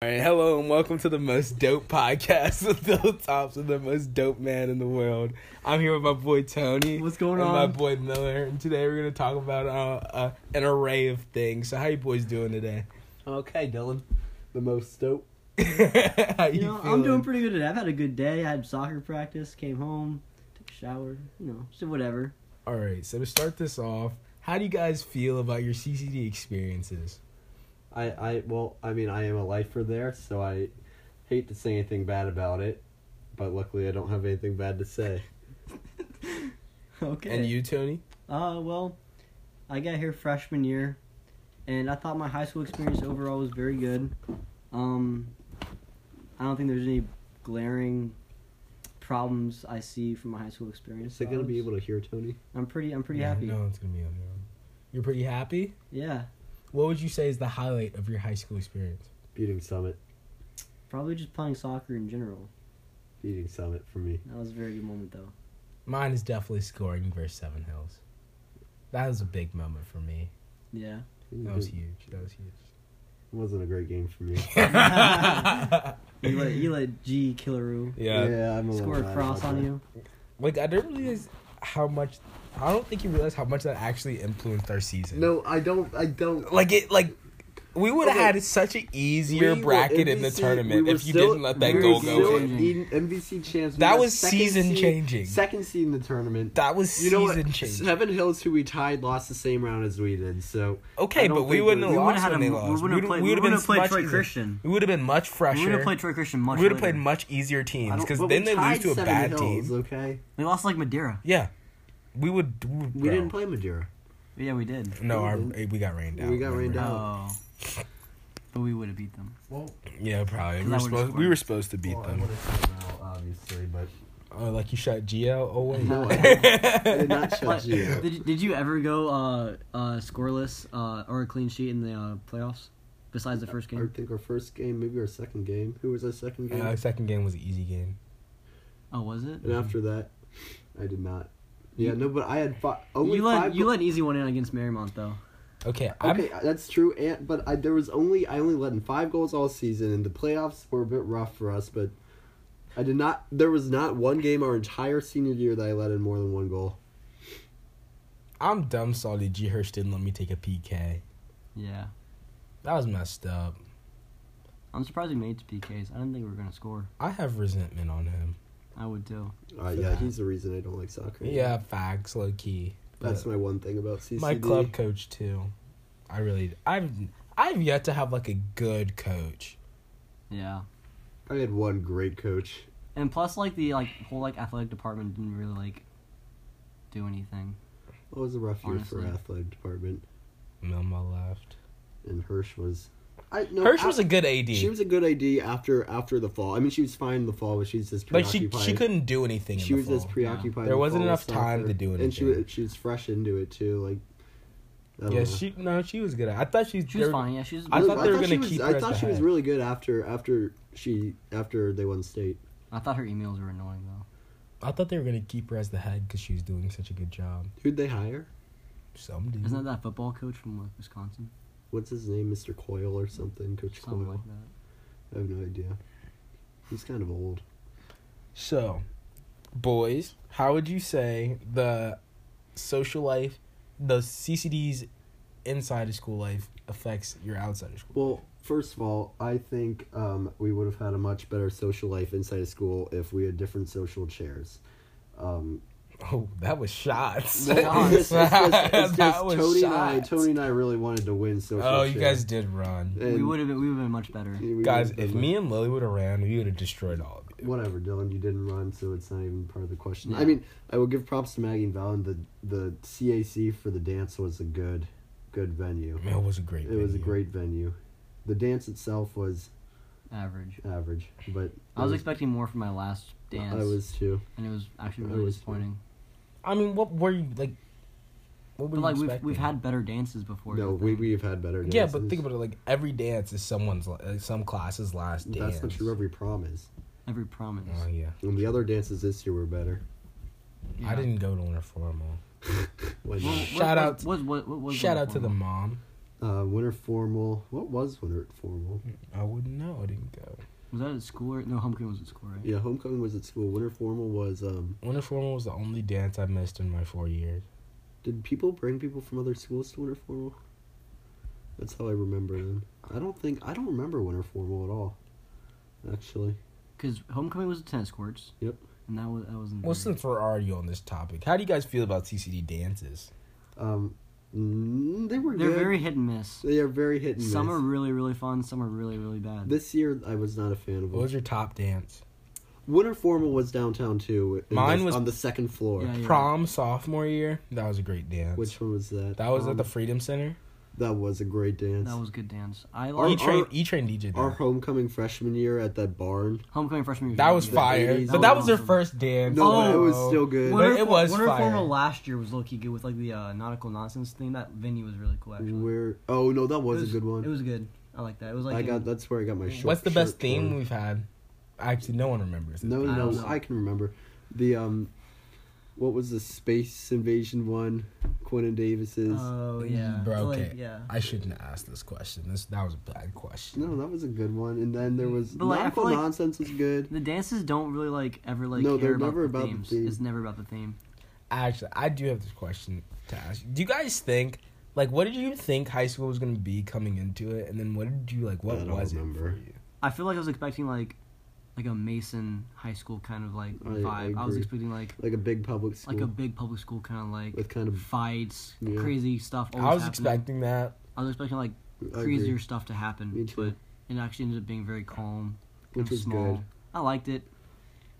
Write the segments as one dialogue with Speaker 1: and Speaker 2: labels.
Speaker 1: All right, hello and welcome to the most dope podcast with the tops of the most dope man in the world. I'm here with my boy Tony.
Speaker 2: What's going
Speaker 1: and My
Speaker 2: on?
Speaker 1: boy Miller, and today we're gonna talk about uh, uh, an array of things. So, how you boys doing today?
Speaker 2: Okay, Dylan.
Speaker 1: The most dope. how you
Speaker 2: You know, I'm
Speaker 1: feeling?
Speaker 2: doing pretty good today. I've had a good day. I had soccer practice, came home, took a shower, you know, so whatever.
Speaker 1: All right, so to start this off, how do you guys feel about your CCD experiences?
Speaker 3: I, I well, I mean, I am a lifer there, so I hate to say anything bad about it, but luckily I don't have anything bad to say.
Speaker 2: Okay.
Speaker 1: And you, Tony?
Speaker 2: Uh, well, I got here freshman year, and I thought my high school experience overall was very good. Um, I don't think there's any glaring problems I see from my high school experience.
Speaker 3: Is it gonna be able to hear Tony?
Speaker 2: I'm pretty. I'm pretty
Speaker 1: Yeah,
Speaker 2: happy.
Speaker 1: No, it's gonna be on your own. You're pretty happy.
Speaker 2: Yeah,
Speaker 1: What would you say is the highlight of your high school experience?
Speaker 3: Beating Summit,
Speaker 2: probably just playing soccer in general.
Speaker 3: beating Summit for me.
Speaker 2: That was a very good moment, though.
Speaker 1: Mine is definitely scoring versus Seven Hills. That was a big moment for me.
Speaker 2: Yeah.
Speaker 1: That was huge. That was
Speaker 3: It wasn't a great game for me.
Speaker 1: huge.
Speaker 2: You let you let G Killaroo
Speaker 3: I'm a little
Speaker 2: score a
Speaker 3: mad
Speaker 2: cross
Speaker 3: about
Speaker 2: on
Speaker 3: that.
Speaker 2: you.
Speaker 1: Like I didn't realize how much. I don't think you realize how much that actually influenced our season.
Speaker 3: No, I don't. I don't.
Speaker 1: Like it. Like we would have
Speaker 3: Okay.
Speaker 1: had such an easier
Speaker 3: We were
Speaker 1: bracket in the
Speaker 3: NBC
Speaker 1: tournament
Speaker 3: we were
Speaker 1: if you
Speaker 3: still-
Speaker 1: didn't let that
Speaker 3: we were
Speaker 1: goal
Speaker 3: still
Speaker 1: go in.
Speaker 2: in.
Speaker 3: Eden- MVC champs. We
Speaker 1: That
Speaker 3: got
Speaker 1: was
Speaker 3: second
Speaker 1: season
Speaker 3: seed-
Speaker 1: changing.
Speaker 3: Second seed in the tournament.
Speaker 1: That was
Speaker 3: you know
Speaker 1: season
Speaker 3: what?
Speaker 1: changing.
Speaker 3: Seven Hills, who we tied, lost the same round as we did. So
Speaker 1: Okay,
Speaker 3: I don't
Speaker 1: but we
Speaker 3: think
Speaker 1: wouldn't have
Speaker 3: we-
Speaker 2: we would've
Speaker 1: lost
Speaker 2: had
Speaker 1: when
Speaker 2: a-
Speaker 1: they
Speaker 2: we
Speaker 1: lost.
Speaker 2: would've
Speaker 1: We would've-
Speaker 2: played-
Speaker 1: we
Speaker 2: we
Speaker 1: would've
Speaker 2: would've
Speaker 1: been
Speaker 2: played
Speaker 1: much
Speaker 2: Troy
Speaker 1: easier.
Speaker 2: Christian.
Speaker 1: We would have been much
Speaker 2: We would
Speaker 1: fresher.
Speaker 2: have played Troy Christian much
Speaker 1: We would have
Speaker 2: later.
Speaker 1: played much easier
Speaker 3: I
Speaker 1: teams
Speaker 3: don't-
Speaker 1: because
Speaker 3: but we
Speaker 1: then they lose
Speaker 3: tied
Speaker 1: to a
Speaker 3: Seven
Speaker 1: bad
Speaker 3: Hills,
Speaker 1: team.
Speaker 3: Okay,
Speaker 2: We lost like Madeira.
Speaker 1: Yeah, we would. We,
Speaker 3: we didn't play Madeira.
Speaker 2: Yeah, we did.
Speaker 1: No,
Speaker 3: We
Speaker 1: our, eh,
Speaker 3: didn't.
Speaker 1: we got rained out.
Speaker 3: We got
Speaker 1: remember?
Speaker 3: rained out.
Speaker 2: Oh. But we would have beat them.
Speaker 3: Well,
Speaker 1: Yeah, probably. We
Speaker 2: I
Speaker 1: were,
Speaker 2: would've
Speaker 1: supposed, we
Speaker 2: scored.
Speaker 1: were supposed to beat
Speaker 3: well, I
Speaker 1: them.
Speaker 3: would have said now, obviously, but
Speaker 1: Oh, like you shot GL? Oh, wait.
Speaker 3: No, I didn't. I did not
Speaker 2: But
Speaker 3: touch you.
Speaker 2: did, did you ever go uh, uh, scoreless uh, or a clean sheet in the uh, playoffs besides the first
Speaker 3: I
Speaker 2: game?
Speaker 3: think our first game, maybe our second game. Who was our second game?
Speaker 1: Uh, second game was an easy game.
Speaker 2: Oh, was it?
Speaker 3: and after that, I did not. Yeah, no, but I had five. Only
Speaker 2: You let
Speaker 3: five.
Speaker 2: you let an easy one in against Marymount though.
Speaker 1: Okay,
Speaker 3: Okay, uh,
Speaker 1: I'm,
Speaker 3: that's true. And but I, there was only I only let in five goals all season, and the playoffs were a bit rough for us. But I did not. There was not one game our entire senior year that I let in more than one goal.
Speaker 1: I'm dumb salty G. Hirsch didn't let me take a PK.
Speaker 2: Yeah.
Speaker 1: That was messed up.
Speaker 2: I'm surprised we made it to PKs. I didn't think we were gonna score.
Speaker 1: I have resentment on him.
Speaker 2: I would too.
Speaker 3: Uh, yeah, he's the reason I don't like soccer.
Speaker 1: Yeah, facts, low key.
Speaker 3: that's
Speaker 1: But
Speaker 3: my one thing about CCD.
Speaker 1: my club coach, too. I really. I've, I've yet to have, like, a good coach.
Speaker 2: Yeah.
Speaker 3: I had one great coach.
Speaker 2: And plus, like the like whole like athletic department didn't really like do anything.
Speaker 3: It was a rough year for
Speaker 2: Honestly.
Speaker 3: athletic department,
Speaker 1: Milma left.
Speaker 3: and Hirsch was. I no.
Speaker 1: Hirsch
Speaker 3: af-
Speaker 1: was a good AD.
Speaker 3: She was a good ID after after the fall. I mean, she was fine in the fall, but she's just
Speaker 1: like, she,
Speaker 3: preoccupied.
Speaker 1: she couldn't do anything
Speaker 3: She
Speaker 1: in the
Speaker 3: was just
Speaker 1: fall.
Speaker 3: preoccupied. in
Speaker 1: There
Speaker 3: the
Speaker 1: wasn't
Speaker 3: fall
Speaker 1: enough
Speaker 3: with
Speaker 1: time
Speaker 3: soccer.
Speaker 1: to do
Speaker 3: and she
Speaker 1: anything.
Speaker 3: was she was fresh into it too. Like, I don't
Speaker 1: Yeah,
Speaker 3: know.
Speaker 1: she no, she was good. at I thought she.
Speaker 2: She was
Speaker 1: there-
Speaker 2: fine. Yeah, she was.
Speaker 1: I
Speaker 3: No,
Speaker 1: thought they were
Speaker 3: she
Speaker 1: gonna
Speaker 3: was-
Speaker 1: keep her
Speaker 3: I
Speaker 1: as
Speaker 3: thought
Speaker 1: the
Speaker 3: she was
Speaker 1: head.
Speaker 3: really good after after she after they won state.
Speaker 2: I thought her emails were annoying
Speaker 3: Mm-hmm.
Speaker 2: though.
Speaker 1: I thought they were gonna keep her as the head because she was doing such a good job.
Speaker 3: Who'd they hire?
Speaker 1: Some dude.
Speaker 2: Isn't that that football coach from like, Wisconsin?
Speaker 3: What's his name? Mr. Coyle or something? Coach
Speaker 2: Something
Speaker 3: Coyle.
Speaker 2: like that.
Speaker 3: I have no idea. He's kind of old.
Speaker 1: So, boys, how would you say the social life, the CCD's inside of school life affects your outside of school?
Speaker 3: Well, first of all, I think um, we would have had a much better social life inside of school if we had different social chairs. Um,
Speaker 1: Oh, that was shots.
Speaker 3: Well, it's just, it's just, it's
Speaker 1: That
Speaker 3: just
Speaker 1: was
Speaker 3: Tony and I.
Speaker 1: shots.
Speaker 3: Tony and I really wanted to win social.
Speaker 1: Oh, you
Speaker 3: share.
Speaker 1: guys did run,
Speaker 3: And
Speaker 2: We would have. We would have been much better.
Speaker 3: we would've
Speaker 1: guys.
Speaker 3: been
Speaker 1: If
Speaker 3: like,
Speaker 1: me and Lily would have ran, we would have destroyed all of you.
Speaker 3: whatever, Dylan, you didn't run, so it's not even part of the question. I
Speaker 2: Yeah.
Speaker 3: mean, I will give props to Maggie and Valen. The the CAC for the dance was a good, good venue.
Speaker 1: Man, it was a great.
Speaker 3: It was a
Speaker 1: venue.
Speaker 3: great venue. The dance itself was
Speaker 2: Average.
Speaker 3: average, but
Speaker 2: I was
Speaker 3: it
Speaker 2: expecting more from my last dance,
Speaker 3: I was too.
Speaker 2: and it was actually
Speaker 3: I
Speaker 2: really
Speaker 3: was-
Speaker 2: disappointing.
Speaker 1: I mean, what were you like? What were
Speaker 2: But
Speaker 1: you
Speaker 2: like we've
Speaker 1: expecting?
Speaker 2: we've had better dances before.
Speaker 3: No,
Speaker 2: is the
Speaker 3: we
Speaker 2: thing.
Speaker 3: we've had better. Dances.
Speaker 1: Yeah, but think about it. Like every dance is someone's, like, some class's last dance.
Speaker 3: That's not true. Every prom is,
Speaker 2: every promise.
Speaker 1: Oh yeah.
Speaker 3: and the other dances this year were better.
Speaker 1: I didn't go to winter formal.
Speaker 3: Why
Speaker 2: Well,
Speaker 3: not?
Speaker 2: what
Speaker 1: Shout
Speaker 2: was-
Speaker 1: out-
Speaker 2: What, what, what was
Speaker 1: Shout
Speaker 2: the
Speaker 1: out to the
Speaker 2: formal?
Speaker 1: mom.
Speaker 3: Uh, winter formal. What was winter formal?
Speaker 1: I wouldn't know. I didn't
Speaker 2: Was that at school? Or, no, homecoming was at school, right?
Speaker 3: Yeah, homecoming was at school. Winter formal was. um
Speaker 1: Winter formal was the only dance I missed in my four years.
Speaker 3: Did people bring people from other schools to winter formal? That's how I remember them. I don't think I don't remember winter formal at all. Actually,
Speaker 2: Because homecoming was at tennis courts.
Speaker 3: Yep.
Speaker 2: And that was that wasn't.
Speaker 1: Well, since we're already on this topic, how do you guys feel about CCD dances?
Speaker 3: um, mm, they were.
Speaker 2: They're
Speaker 3: good.
Speaker 2: very hit and miss.
Speaker 3: They are very hit and
Speaker 2: Some
Speaker 3: miss.
Speaker 2: are really really fun. Some are really really bad.
Speaker 3: This year, I was not a fan of
Speaker 1: What was
Speaker 3: it.
Speaker 1: your top dance?
Speaker 3: Winter formal was downtown too. in
Speaker 1: Mine
Speaker 3: the-
Speaker 1: was-
Speaker 3: on the second floor.
Speaker 2: Yeah, yeah.
Speaker 1: Prom sophomore year, that was a great dance.
Speaker 3: Which one was that?
Speaker 1: that was
Speaker 2: um,
Speaker 1: at the Freedom Center.
Speaker 3: That was a great dance.
Speaker 2: that was good dance. I
Speaker 3: Our-
Speaker 1: E
Speaker 2: like
Speaker 1: Train,
Speaker 3: our-
Speaker 1: E Train DJ.
Speaker 3: Our
Speaker 1: dance.
Speaker 3: homecoming freshman year at that barn.
Speaker 2: homecoming freshman year.
Speaker 1: That was
Speaker 2: good.
Speaker 3: the
Speaker 1: fire,
Speaker 3: 80s.
Speaker 1: but that was their
Speaker 2: Awesome.
Speaker 1: first dance. Oh.
Speaker 3: No,
Speaker 2: but it
Speaker 3: was still good.
Speaker 1: But
Speaker 2: Winter,
Speaker 1: it was
Speaker 2: Winter
Speaker 1: fire.
Speaker 2: formal last year was low key good with like the uh, nautical nonsense thing. That venue was really cool actually.
Speaker 3: Where? Oh no, that was,
Speaker 2: it
Speaker 3: a good one.
Speaker 2: It was good. I like that. It was like
Speaker 3: I
Speaker 2: in-
Speaker 3: got. That's where I got my short.
Speaker 1: What's the
Speaker 3: short
Speaker 1: best theme
Speaker 3: term.
Speaker 1: we've had? Actually, no one remembers. it.
Speaker 3: No,
Speaker 2: I don't
Speaker 3: no,
Speaker 2: know.
Speaker 3: I can remember. The um, what was the space invasion one? Quentin Davis's.
Speaker 2: Oh yeah.
Speaker 1: Mm, Bro,
Speaker 2: Like,
Speaker 1: okay.
Speaker 2: yeah.
Speaker 1: I shouldn't ask this question. This that was a bad question.
Speaker 3: no, that was a good one. And then there was
Speaker 2: But, like, I
Speaker 3: nautical
Speaker 2: feel like-
Speaker 3: nonsense was good.
Speaker 2: The dances don't really like ever like
Speaker 3: No,
Speaker 2: care
Speaker 3: they're
Speaker 2: about,
Speaker 3: never
Speaker 2: the
Speaker 3: about the
Speaker 2: themes.
Speaker 3: theme.
Speaker 2: It's never about the theme.
Speaker 1: Actually, I do have this question to ask. you. Do you guys think like what did you think high school was going to be coming into it, and then what did you like? What
Speaker 3: I don't
Speaker 1: was
Speaker 3: remember.
Speaker 1: it for you?
Speaker 2: I feel like I was expecting like like a Mason high school kind of like
Speaker 3: I- I
Speaker 2: vibe. I, was
Speaker 3: agree.
Speaker 2: expecting like
Speaker 3: Like a big public school.
Speaker 2: like a big public school kind of like
Speaker 3: with kind of.
Speaker 2: fights,
Speaker 3: Yeah.
Speaker 2: crazy stuff. Always
Speaker 1: I was
Speaker 2: happening.
Speaker 1: expecting that.
Speaker 2: I was expecting like
Speaker 3: I agree,
Speaker 2: crazier stuff to happen,
Speaker 3: Me too.
Speaker 2: but it actually ended up being very calm, kind
Speaker 3: which
Speaker 2: of
Speaker 3: was
Speaker 2: small.
Speaker 3: good.
Speaker 2: I liked it.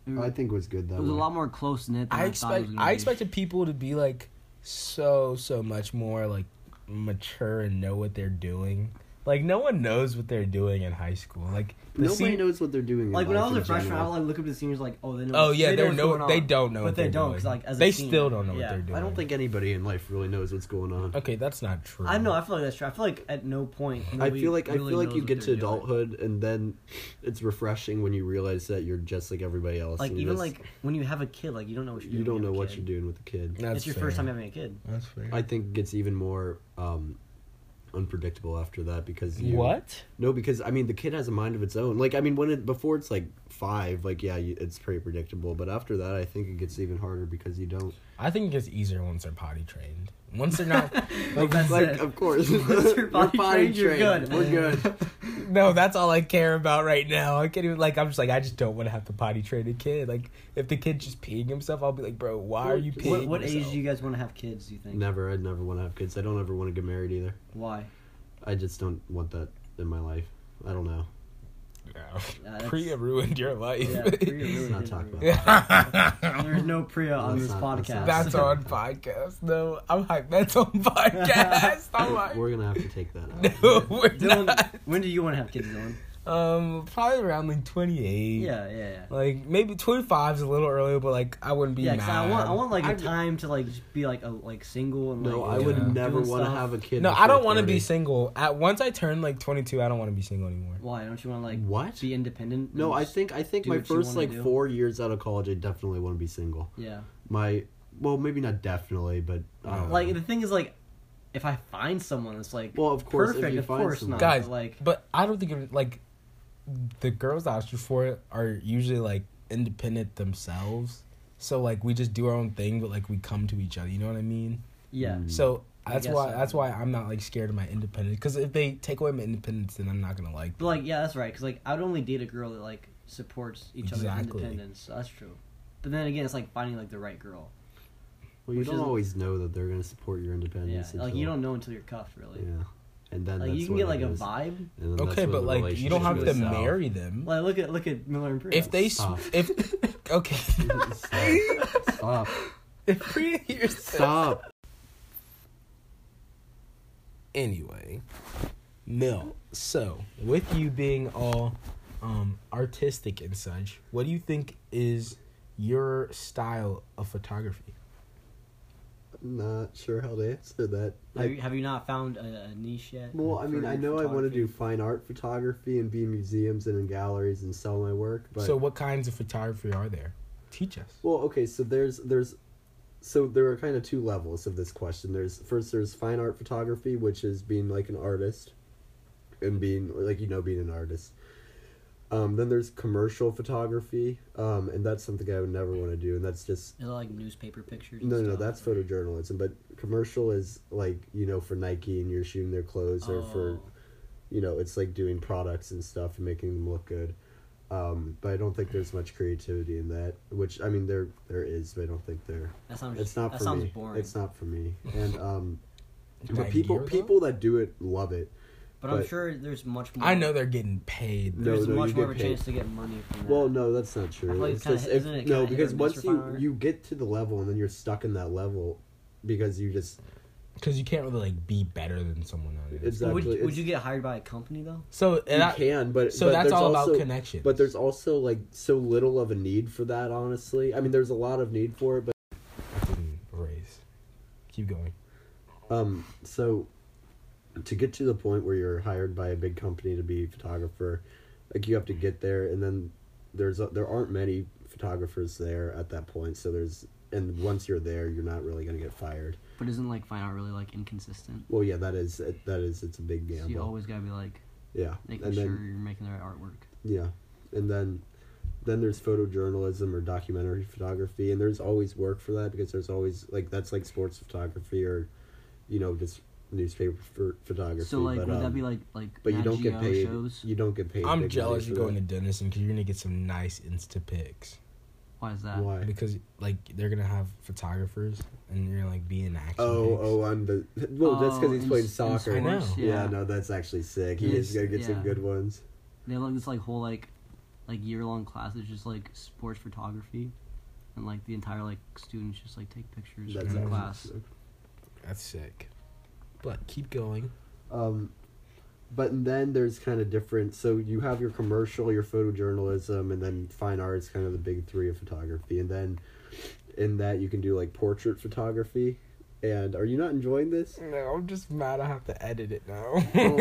Speaker 2: It,
Speaker 3: I think was good that
Speaker 2: it was a
Speaker 3: way.
Speaker 2: lot more close knit. than
Speaker 1: I
Speaker 2: I, thought it was
Speaker 1: expect
Speaker 2: gonna
Speaker 1: I
Speaker 2: be.
Speaker 1: expected people to be like so so much more like mature and know what they're doing. Like no one knows what they're doing in high school. Like the
Speaker 3: Nobody
Speaker 1: scene-
Speaker 3: knows what they're doing. in
Speaker 2: Like when I
Speaker 3: life
Speaker 2: was a
Speaker 3: in
Speaker 2: freshman, I
Speaker 3: general.
Speaker 2: would like look up to the seniors like, oh, they know.
Speaker 1: Oh yeah,
Speaker 2: they
Speaker 1: they are
Speaker 2: know what's
Speaker 1: no
Speaker 2: going
Speaker 1: they
Speaker 2: on.
Speaker 1: don't know.
Speaker 2: But
Speaker 1: what
Speaker 2: they
Speaker 1: they're
Speaker 2: don't,
Speaker 1: doing.
Speaker 2: 'cause, like, as a
Speaker 1: they
Speaker 2: senior-
Speaker 1: still don't know what
Speaker 2: yeah.
Speaker 1: they're doing.
Speaker 3: I don't think anybody in life really knows what's going on.
Speaker 1: Okay, that's not true.
Speaker 2: I know. I feel like that's true. I feel like at no point.
Speaker 3: I
Speaker 2: nobody
Speaker 3: feel like I
Speaker 2: really
Speaker 3: feel like
Speaker 2: knows
Speaker 3: you
Speaker 2: what
Speaker 3: get to
Speaker 2: they're doing.
Speaker 3: adulthood and then it's refreshing when you realize that you're just like everybody else.
Speaker 2: Like
Speaker 3: and
Speaker 2: even
Speaker 3: just-
Speaker 2: like when you have a kid, like you don't know what you're
Speaker 3: you
Speaker 2: doing.
Speaker 3: don't know
Speaker 2: when
Speaker 3: what
Speaker 2: have a
Speaker 3: you're
Speaker 2: kid.
Speaker 3: doing with the kid.
Speaker 1: That's
Speaker 2: It's your first
Speaker 1: fair.
Speaker 2: time having a kid.
Speaker 1: That's fair.
Speaker 3: I think it gets even more um unpredictable after that because you,
Speaker 1: what?
Speaker 3: No, because I mean the kid has a mind of its own. Like I mean when it before it's like five, like yeah, you, it's pretty predictable. But after that, I think it gets even harder because you don't.
Speaker 1: I think it gets easier once they're potty trained. Once they're not,
Speaker 2: Like, that's
Speaker 3: like
Speaker 2: it.
Speaker 3: of course,
Speaker 2: Once you're
Speaker 3: You're
Speaker 2: potty trained, you're
Speaker 3: trained.
Speaker 2: good.
Speaker 3: We're good.
Speaker 1: no, that's all I care about right now. I can't even like. I'm just like I just don't want to have to potty train a kid. Like if the kid's just peeing himself, I'll be like, bro, why are you peeing?
Speaker 2: What, what age
Speaker 1: yourself?
Speaker 2: do you guys want to have kids? Do you think?
Speaker 3: never, I'd never want to have kids. I don't ever want to get married either.
Speaker 2: Why?
Speaker 3: I just don't want that in my life. I don't know.
Speaker 1: No.
Speaker 2: that's-
Speaker 1: Priya ruined your life.
Speaker 2: Yeah, Priya really
Speaker 3: Let's not
Speaker 2: did
Speaker 3: talk
Speaker 2: ruin
Speaker 3: about
Speaker 2: it.
Speaker 3: that.
Speaker 2: There's no Priya on
Speaker 3: Let's
Speaker 2: this
Speaker 3: not- let's
Speaker 2: podcast.
Speaker 3: not-
Speaker 1: That's on podcast. No, I'm hyped. That's on podcast.
Speaker 2: Oh,
Speaker 1: I'm like,
Speaker 3: We're gonna have to take that out.
Speaker 1: no, we're
Speaker 2: Dylan,
Speaker 1: not.
Speaker 2: when do you want to have kids, Dylan?
Speaker 1: Um, probably around like 28.
Speaker 2: Yeah, yeah, yeah.
Speaker 1: Like maybe 25 is a little early, but like I wouldn't be
Speaker 2: Yeah, 'cause
Speaker 1: mad.
Speaker 2: I want, I want like a
Speaker 3: I'd-
Speaker 2: time to like just be like a like single and like.
Speaker 3: No, I
Speaker 1: Yeah.
Speaker 3: would
Speaker 1: Doing
Speaker 3: never want to
Speaker 2: stuff.
Speaker 3: have a kid.
Speaker 1: no, I don't want
Speaker 3: want
Speaker 1: to be single. At once I turn like 22, I don't want to be single anymore.
Speaker 2: Why don't you want to like
Speaker 3: What?
Speaker 2: be independent? and
Speaker 3: No, I
Speaker 2: just-
Speaker 3: think I think
Speaker 2: do
Speaker 3: my
Speaker 2: what you
Speaker 3: first
Speaker 2: wanna
Speaker 3: like
Speaker 2: do.
Speaker 3: four years out of college, I definitely want to be single.
Speaker 2: Yeah.
Speaker 3: My well, maybe not definitely, but I don't
Speaker 2: Like
Speaker 3: know.
Speaker 2: the thing is like, if I find someone that's like
Speaker 3: Well, of course, if
Speaker 2: perfect,
Speaker 3: you
Speaker 2: of
Speaker 3: find
Speaker 2: course not.
Speaker 3: someone.
Speaker 1: Guys,
Speaker 2: but, like
Speaker 1: But I don't think it, would- like the girls I asked you for are usually like independent themselves. So like we just do our own thing, but like we come to each other. You know what I mean?
Speaker 2: yeah,
Speaker 3: Mm.
Speaker 1: So
Speaker 2: I
Speaker 1: that's
Speaker 2: guess
Speaker 1: why
Speaker 2: so.
Speaker 1: that's why I'm not like scared of my independence. Because if they take away my independence, then I'm not gonna like.
Speaker 2: but like yeah, that's right. Cause like I'd only date a girl that like supports each other's
Speaker 1: Exactly.
Speaker 2: independence. So that's true. But then again, it's like finding like the right girl.
Speaker 3: well, you
Speaker 2: which
Speaker 3: don't
Speaker 2: is-
Speaker 3: always know that they're gonna support your
Speaker 2: Yeah,
Speaker 3: independence.
Speaker 2: like
Speaker 3: until-
Speaker 2: you don't know until you're cuffed, really.
Speaker 3: Yeah, and then
Speaker 2: Like
Speaker 3: that's
Speaker 2: you can get
Speaker 3: when it
Speaker 2: like a
Speaker 3: goes-
Speaker 2: vibe.
Speaker 3: and then that's
Speaker 1: Okay,
Speaker 3: when
Speaker 1: but
Speaker 3: the
Speaker 1: like you don't
Speaker 3: relationship
Speaker 1: have to
Speaker 3: goes south.
Speaker 1: marry them.
Speaker 2: Like look at look at Miller and Priya.
Speaker 1: if they s-
Speaker 3: Stop.
Speaker 1: if okay
Speaker 3: Stop!
Speaker 1: if Priya hears this-
Speaker 3: Stop!
Speaker 1: anyway, Mill. So, with you being all um, artistic and such, what do you think is your style of photography?
Speaker 3: Not sure how to answer that.
Speaker 2: have,
Speaker 3: I,
Speaker 2: you, have you not found a, a niche yet?
Speaker 3: well, I mean,
Speaker 2: for
Speaker 3: I know I want to do
Speaker 2: photography?
Speaker 3: fine art photography and be in museums and in galleries and sell my work. But
Speaker 1: so, what kinds of photography are there? Teach us.
Speaker 3: Well, okay, so there's there's so there are kind of two levels of this question. There's first there's fine art photography, which is being like an artist and being like you know being an artist. Um, then there's commercial photography, um, and that's something I would never want to do, and that's just
Speaker 4: Is it like newspaper pictures? and
Speaker 3: no, no,
Speaker 4: stuff,
Speaker 3: that's
Speaker 4: or-
Speaker 3: photojournalism. But commercial is like you know for Nike, and you're shooting their clothes, or for
Speaker 4: Oh.
Speaker 3: you know it's like doing products and stuff and making them look good. Um, but I don't think there's much creativity in that. Which I mean, there there is, but I don't think there.
Speaker 4: That sounds.
Speaker 3: It's not
Speaker 4: that
Speaker 3: for
Speaker 4: sounds
Speaker 3: me.
Speaker 4: boring.
Speaker 3: It's not for me. And um,
Speaker 1: My
Speaker 3: but people
Speaker 1: gear, though?
Speaker 3: people that do it love it.
Speaker 4: but, I'm
Speaker 3: but-
Speaker 4: sure there's much more.
Speaker 1: I know they're getting paid.
Speaker 3: No,
Speaker 4: There's
Speaker 3: no, you
Speaker 4: much more of
Speaker 3: get
Speaker 4: a
Speaker 3: paid.
Speaker 4: chance to get money from that.
Speaker 3: Well, no, that's not true.
Speaker 4: I feel like it's
Speaker 3: It's
Speaker 4: kinda
Speaker 3: just
Speaker 4: hit-
Speaker 3: if-
Speaker 4: isn't it
Speaker 3: no,
Speaker 4: kinda hit
Speaker 3: because
Speaker 4: or miss
Speaker 3: once
Speaker 4: with
Speaker 3: you
Speaker 4: fire?
Speaker 3: you get to the level and then you're stuck in that level, because you just
Speaker 1: because you can't really like be better than someone on it.
Speaker 4: But
Speaker 3: exactly.
Speaker 4: would,
Speaker 3: it's-
Speaker 4: would you get hired by a company though?
Speaker 1: So
Speaker 3: you
Speaker 1: and I,
Speaker 3: can, but
Speaker 1: so
Speaker 3: but
Speaker 1: that's
Speaker 3: there's
Speaker 1: all
Speaker 3: also,
Speaker 1: about connections.
Speaker 3: But there's also like so little of a need for that. Honestly, I mean, there's a lot of need for it, but
Speaker 1: Fucking raise. Keep going.
Speaker 3: um, so to get to the point where you're hired by a big company to be a photographer, like you have to get there, and then there's a, there aren't many photographers there at that point. So there's and once you're there, you're not really gonna get fired.
Speaker 4: But isn't like fine art really like inconsistent?
Speaker 3: Well, yeah, that is that is it's a big gamble.
Speaker 4: So you always gotta be like
Speaker 3: yeah,
Speaker 4: making
Speaker 3: and
Speaker 4: sure
Speaker 3: then
Speaker 4: you're making the right artwork.
Speaker 3: yeah, and then then there's photojournalism or documentary photography, and there's always work for that because there's always like that's like sports photography or you know just newspaper ph- photography.
Speaker 4: So like,
Speaker 3: but,
Speaker 4: would that
Speaker 3: um,
Speaker 4: be like like?
Speaker 3: But you
Speaker 4: Nat
Speaker 3: don't get
Speaker 4: Geo
Speaker 3: paid.
Speaker 4: Shows?
Speaker 3: You don't get paid.
Speaker 1: I'm
Speaker 3: big
Speaker 1: jealous
Speaker 3: money
Speaker 1: you're
Speaker 3: for
Speaker 1: going to
Speaker 3: that.
Speaker 1: Denison because you're gonna get some nice insta pics
Speaker 4: Why is that?
Speaker 3: Why?
Speaker 1: because like they're gonna have photographers and you're gonna, like be in action.
Speaker 3: Oh,
Speaker 1: pics.
Speaker 3: oh, I'm the well. that's because
Speaker 4: Oh,
Speaker 3: he's
Speaker 4: in-
Speaker 3: playing
Speaker 4: in
Speaker 3: soccer.
Speaker 1: I know.
Speaker 4: sports,
Speaker 3: Yeah. no, that's actually sick. He
Speaker 4: Yes,
Speaker 3: is gonna get some
Speaker 4: yeah.
Speaker 3: good ones.
Speaker 4: They have like this like whole like like year long class that's just like sports photography, and like the entire like students just like take pictures
Speaker 3: That's
Speaker 4: in the
Speaker 1: actually
Speaker 4: class.
Speaker 3: sick.
Speaker 1: That's sick. But keep going.
Speaker 3: Um, but then there's kind of different. So you have your commercial, your photojournalism, and then fine arts, kind of the big three of photography. And then in that you can do like portrait photography. And are you not enjoying this?
Speaker 1: No, I'm just mad. I have to edit it now.
Speaker 3: Well,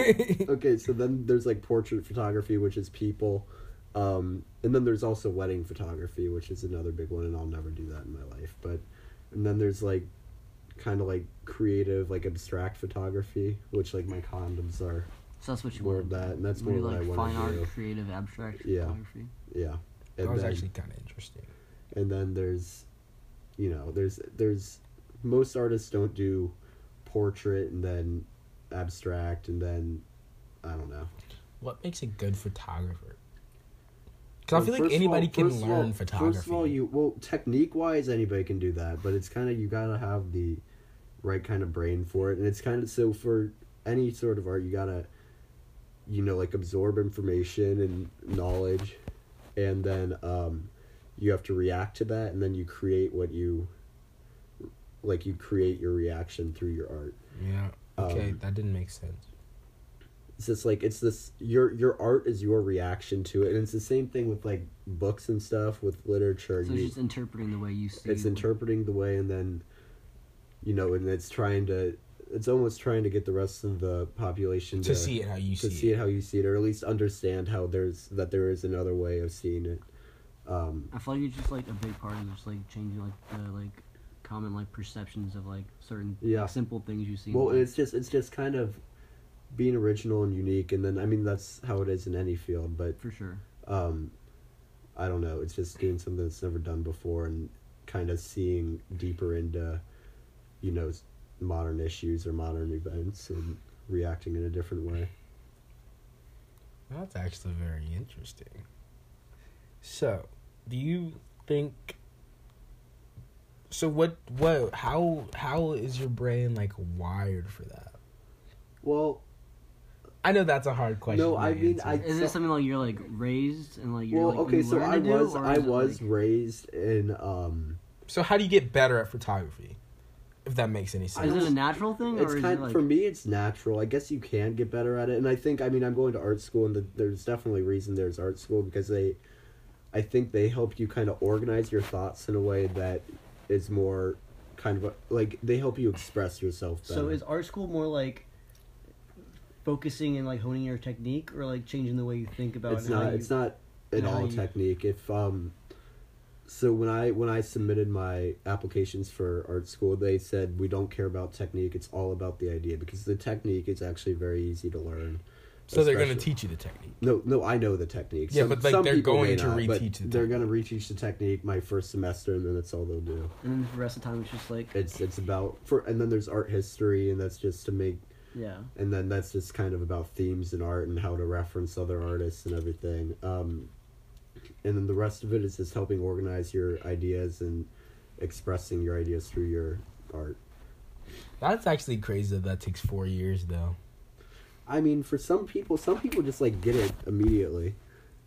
Speaker 3: okay, so then there's like portrait photography, which is people. Um, and then there's also wedding photography, which is another big one, and I'll never do that in my life. But and then there's like kind of like creative, like abstract photography, which like my condoms are
Speaker 4: So that's what you
Speaker 3: more
Speaker 4: want.
Speaker 3: of that, and that's
Speaker 4: You wanna
Speaker 3: more
Speaker 4: do, like
Speaker 3: what I want
Speaker 4: fine art,
Speaker 3: to do.
Speaker 4: creative, abstract
Speaker 3: Yeah.
Speaker 4: photography.
Speaker 3: Yeah,
Speaker 1: that
Speaker 3: and
Speaker 1: was
Speaker 3: then,
Speaker 1: actually kind of interesting.
Speaker 3: and then there's, you know, there's there's most artists don't do portrait and then abstract and then I don't know.
Speaker 1: What makes a good photographer? Because I feel
Speaker 3: First
Speaker 1: like
Speaker 3: of
Speaker 1: anybody
Speaker 3: all-
Speaker 1: can
Speaker 3: first of
Speaker 1: learn
Speaker 3: all-
Speaker 1: photography.
Speaker 3: First of all, you well technique wise, anybody can do that, but it's kind of you gotta have the right kind of brain for it, and it's kind of so for any sort of art, you gotta, you know, like absorb information and knowledge, and then um, you have to react to that, and then you create what you, like you create your reaction through your art.
Speaker 1: yeah. Okay,
Speaker 3: um,
Speaker 1: that didn't make sense.
Speaker 3: it's just like it's this your your art is your reaction to it and it's the same thing with like books and stuff with literature
Speaker 4: So
Speaker 3: you-
Speaker 4: it's just interpreting the way you see.
Speaker 3: it's
Speaker 4: what-
Speaker 3: interpreting the way and then you know and it's trying to it's almost trying to get the rest of the population
Speaker 1: To
Speaker 3: to,
Speaker 1: see it how you
Speaker 3: to
Speaker 1: see,
Speaker 3: see
Speaker 1: it.
Speaker 3: it how you see it or at least understand how there's that there is another way of seeing it um
Speaker 4: I feel like it's just like a big part of just like changing like the like common like perceptions of like certain like,
Speaker 3: Yeah.
Speaker 4: simple things you see. in
Speaker 3: well and
Speaker 4: life.
Speaker 3: it's just it's just kind of being original and unique and then i mean that's how it is in any field but
Speaker 4: for sure.
Speaker 3: um i don't know it's just doing something that's never done before and kind of seeing deeper into you know s- modern issues or modern events and reacting in a different way
Speaker 1: That's actually very interesting. So, do you think? So what? What? How? How is your brain like wired for that?
Speaker 3: well
Speaker 1: I know that's a hard question.
Speaker 3: No,
Speaker 1: to
Speaker 3: I mean,
Speaker 1: answer.
Speaker 3: I-
Speaker 4: Is
Speaker 3: So-
Speaker 4: it something like you're like raised and like you're
Speaker 3: well
Speaker 4: like
Speaker 3: okay
Speaker 4: you
Speaker 3: so
Speaker 4: learn
Speaker 3: i
Speaker 4: to do,
Speaker 3: was
Speaker 4: or
Speaker 3: i
Speaker 4: is it,
Speaker 3: was
Speaker 4: like-
Speaker 3: raised in um
Speaker 1: So how do you get better at photography? If that makes any sense.
Speaker 4: is it a natural thing
Speaker 3: it's
Speaker 4: or is
Speaker 3: kind
Speaker 4: it like
Speaker 3: for me it's natural i guess you can get better at it and i think i mean i'm going to art school and the, there's definitely a reason there's art school because they i think they help you kind of organize your thoughts in a way that is more kind of a, like they help you express yourself better.
Speaker 5: So is art school more like focusing and like honing your technique, or like changing the way you think about
Speaker 3: it's
Speaker 5: how
Speaker 3: not
Speaker 5: you-
Speaker 3: it's not at
Speaker 5: and how
Speaker 3: all
Speaker 5: you-
Speaker 3: technique if um so when i when i submitted my applications for art school they said we don't care about technique it's all about the idea because the technique is actually very easy to learn
Speaker 1: So they're going to
Speaker 3: especially.
Speaker 1: teach you the technique.
Speaker 3: No, no, I know the technique.
Speaker 1: Yeah, but, like, they're
Speaker 3: people
Speaker 1: going
Speaker 3: may
Speaker 1: to
Speaker 3: but
Speaker 1: reteach the
Speaker 3: They're
Speaker 1: technique.
Speaker 3: going to reteach the technique my first semester, and then that's all they'll do.
Speaker 4: And then the rest of the time it's just like
Speaker 3: It's it's about for, and then there's art history, and that's just to make,
Speaker 4: yeah.
Speaker 3: and then that's just kind of about themes in art and how to reference other artists and everything. Um, and then the rest of it is just helping organize your ideas and expressing your ideas through your art.
Speaker 1: That's actually crazy that that takes four years, though.
Speaker 3: I mean, for some people, some people just like get it immediately,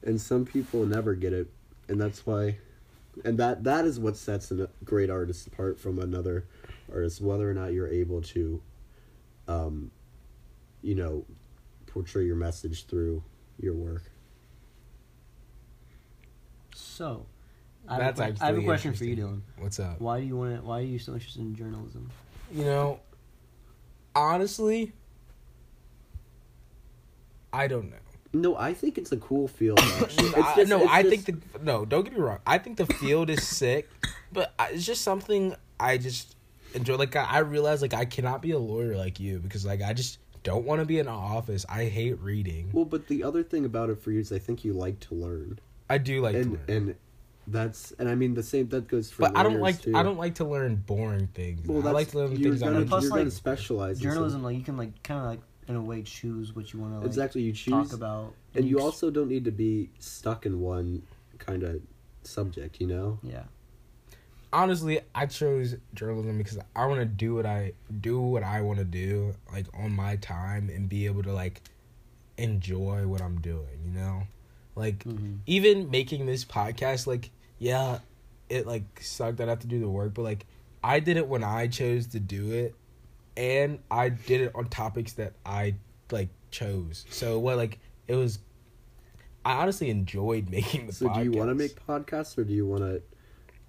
Speaker 3: and some people never get it, and that's why, and that that is what sets a great artist apart from another artist, whether or not you're able to, um, you know, portray your message through your work.
Speaker 4: So, I have,
Speaker 1: That's
Speaker 4: a, que- I have a
Speaker 1: actually
Speaker 4: question for you, Dylan.
Speaker 1: interesting. What's up?
Speaker 4: Why do you want to? Why are you so interested in journalism?
Speaker 1: You know, honestly, I don't know.
Speaker 3: No, I think it's a cool field. Actually. It's
Speaker 1: I-
Speaker 3: just-
Speaker 1: no,
Speaker 3: it's
Speaker 1: I
Speaker 3: just-
Speaker 1: think the no. Don't get me wrong. I think the field is sick, but I, it's just something I just enjoy. Like I, I realize, like I cannot be a lawyer like you because like I just don't want to be in an office. I hate reading.
Speaker 3: well, but the other thing about it for you is I think you like to learn,
Speaker 1: I do like to
Speaker 3: and
Speaker 1: learn,
Speaker 3: and that's and I mean the same that goes for.
Speaker 1: but I don't
Speaker 3: lawyers,
Speaker 1: like
Speaker 3: too.
Speaker 1: I don't like to learn boring things. I like to learn
Speaker 3: you're
Speaker 1: things
Speaker 3: gonna,
Speaker 1: I
Speaker 4: like
Speaker 1: like.
Speaker 4: to do.
Speaker 3: you're gonna specialize in
Speaker 4: Journalism,
Speaker 3: something.
Speaker 4: like you can like kind of like in a way choose what you want to like
Speaker 3: exactly you choose
Speaker 4: talk about,
Speaker 3: and you
Speaker 4: ex-
Speaker 3: also don't need to be stuck in one kind of subject you know
Speaker 4: yeah.
Speaker 1: Honestly, I chose journalism because I want to do what I do what I want to do like on my time and be able to like enjoy what I'm doing. You know, like
Speaker 5: Mm-hmm.
Speaker 4: hmm
Speaker 1: even making this podcast, like, yeah, it like sucked that I have to do the work, but like I did it when I chose to do it and I did it on topics that I like chose. So what like it was I honestly enjoyed making the
Speaker 3: so do you want to
Speaker 1: podcast.
Speaker 3: make podcasts or do you want to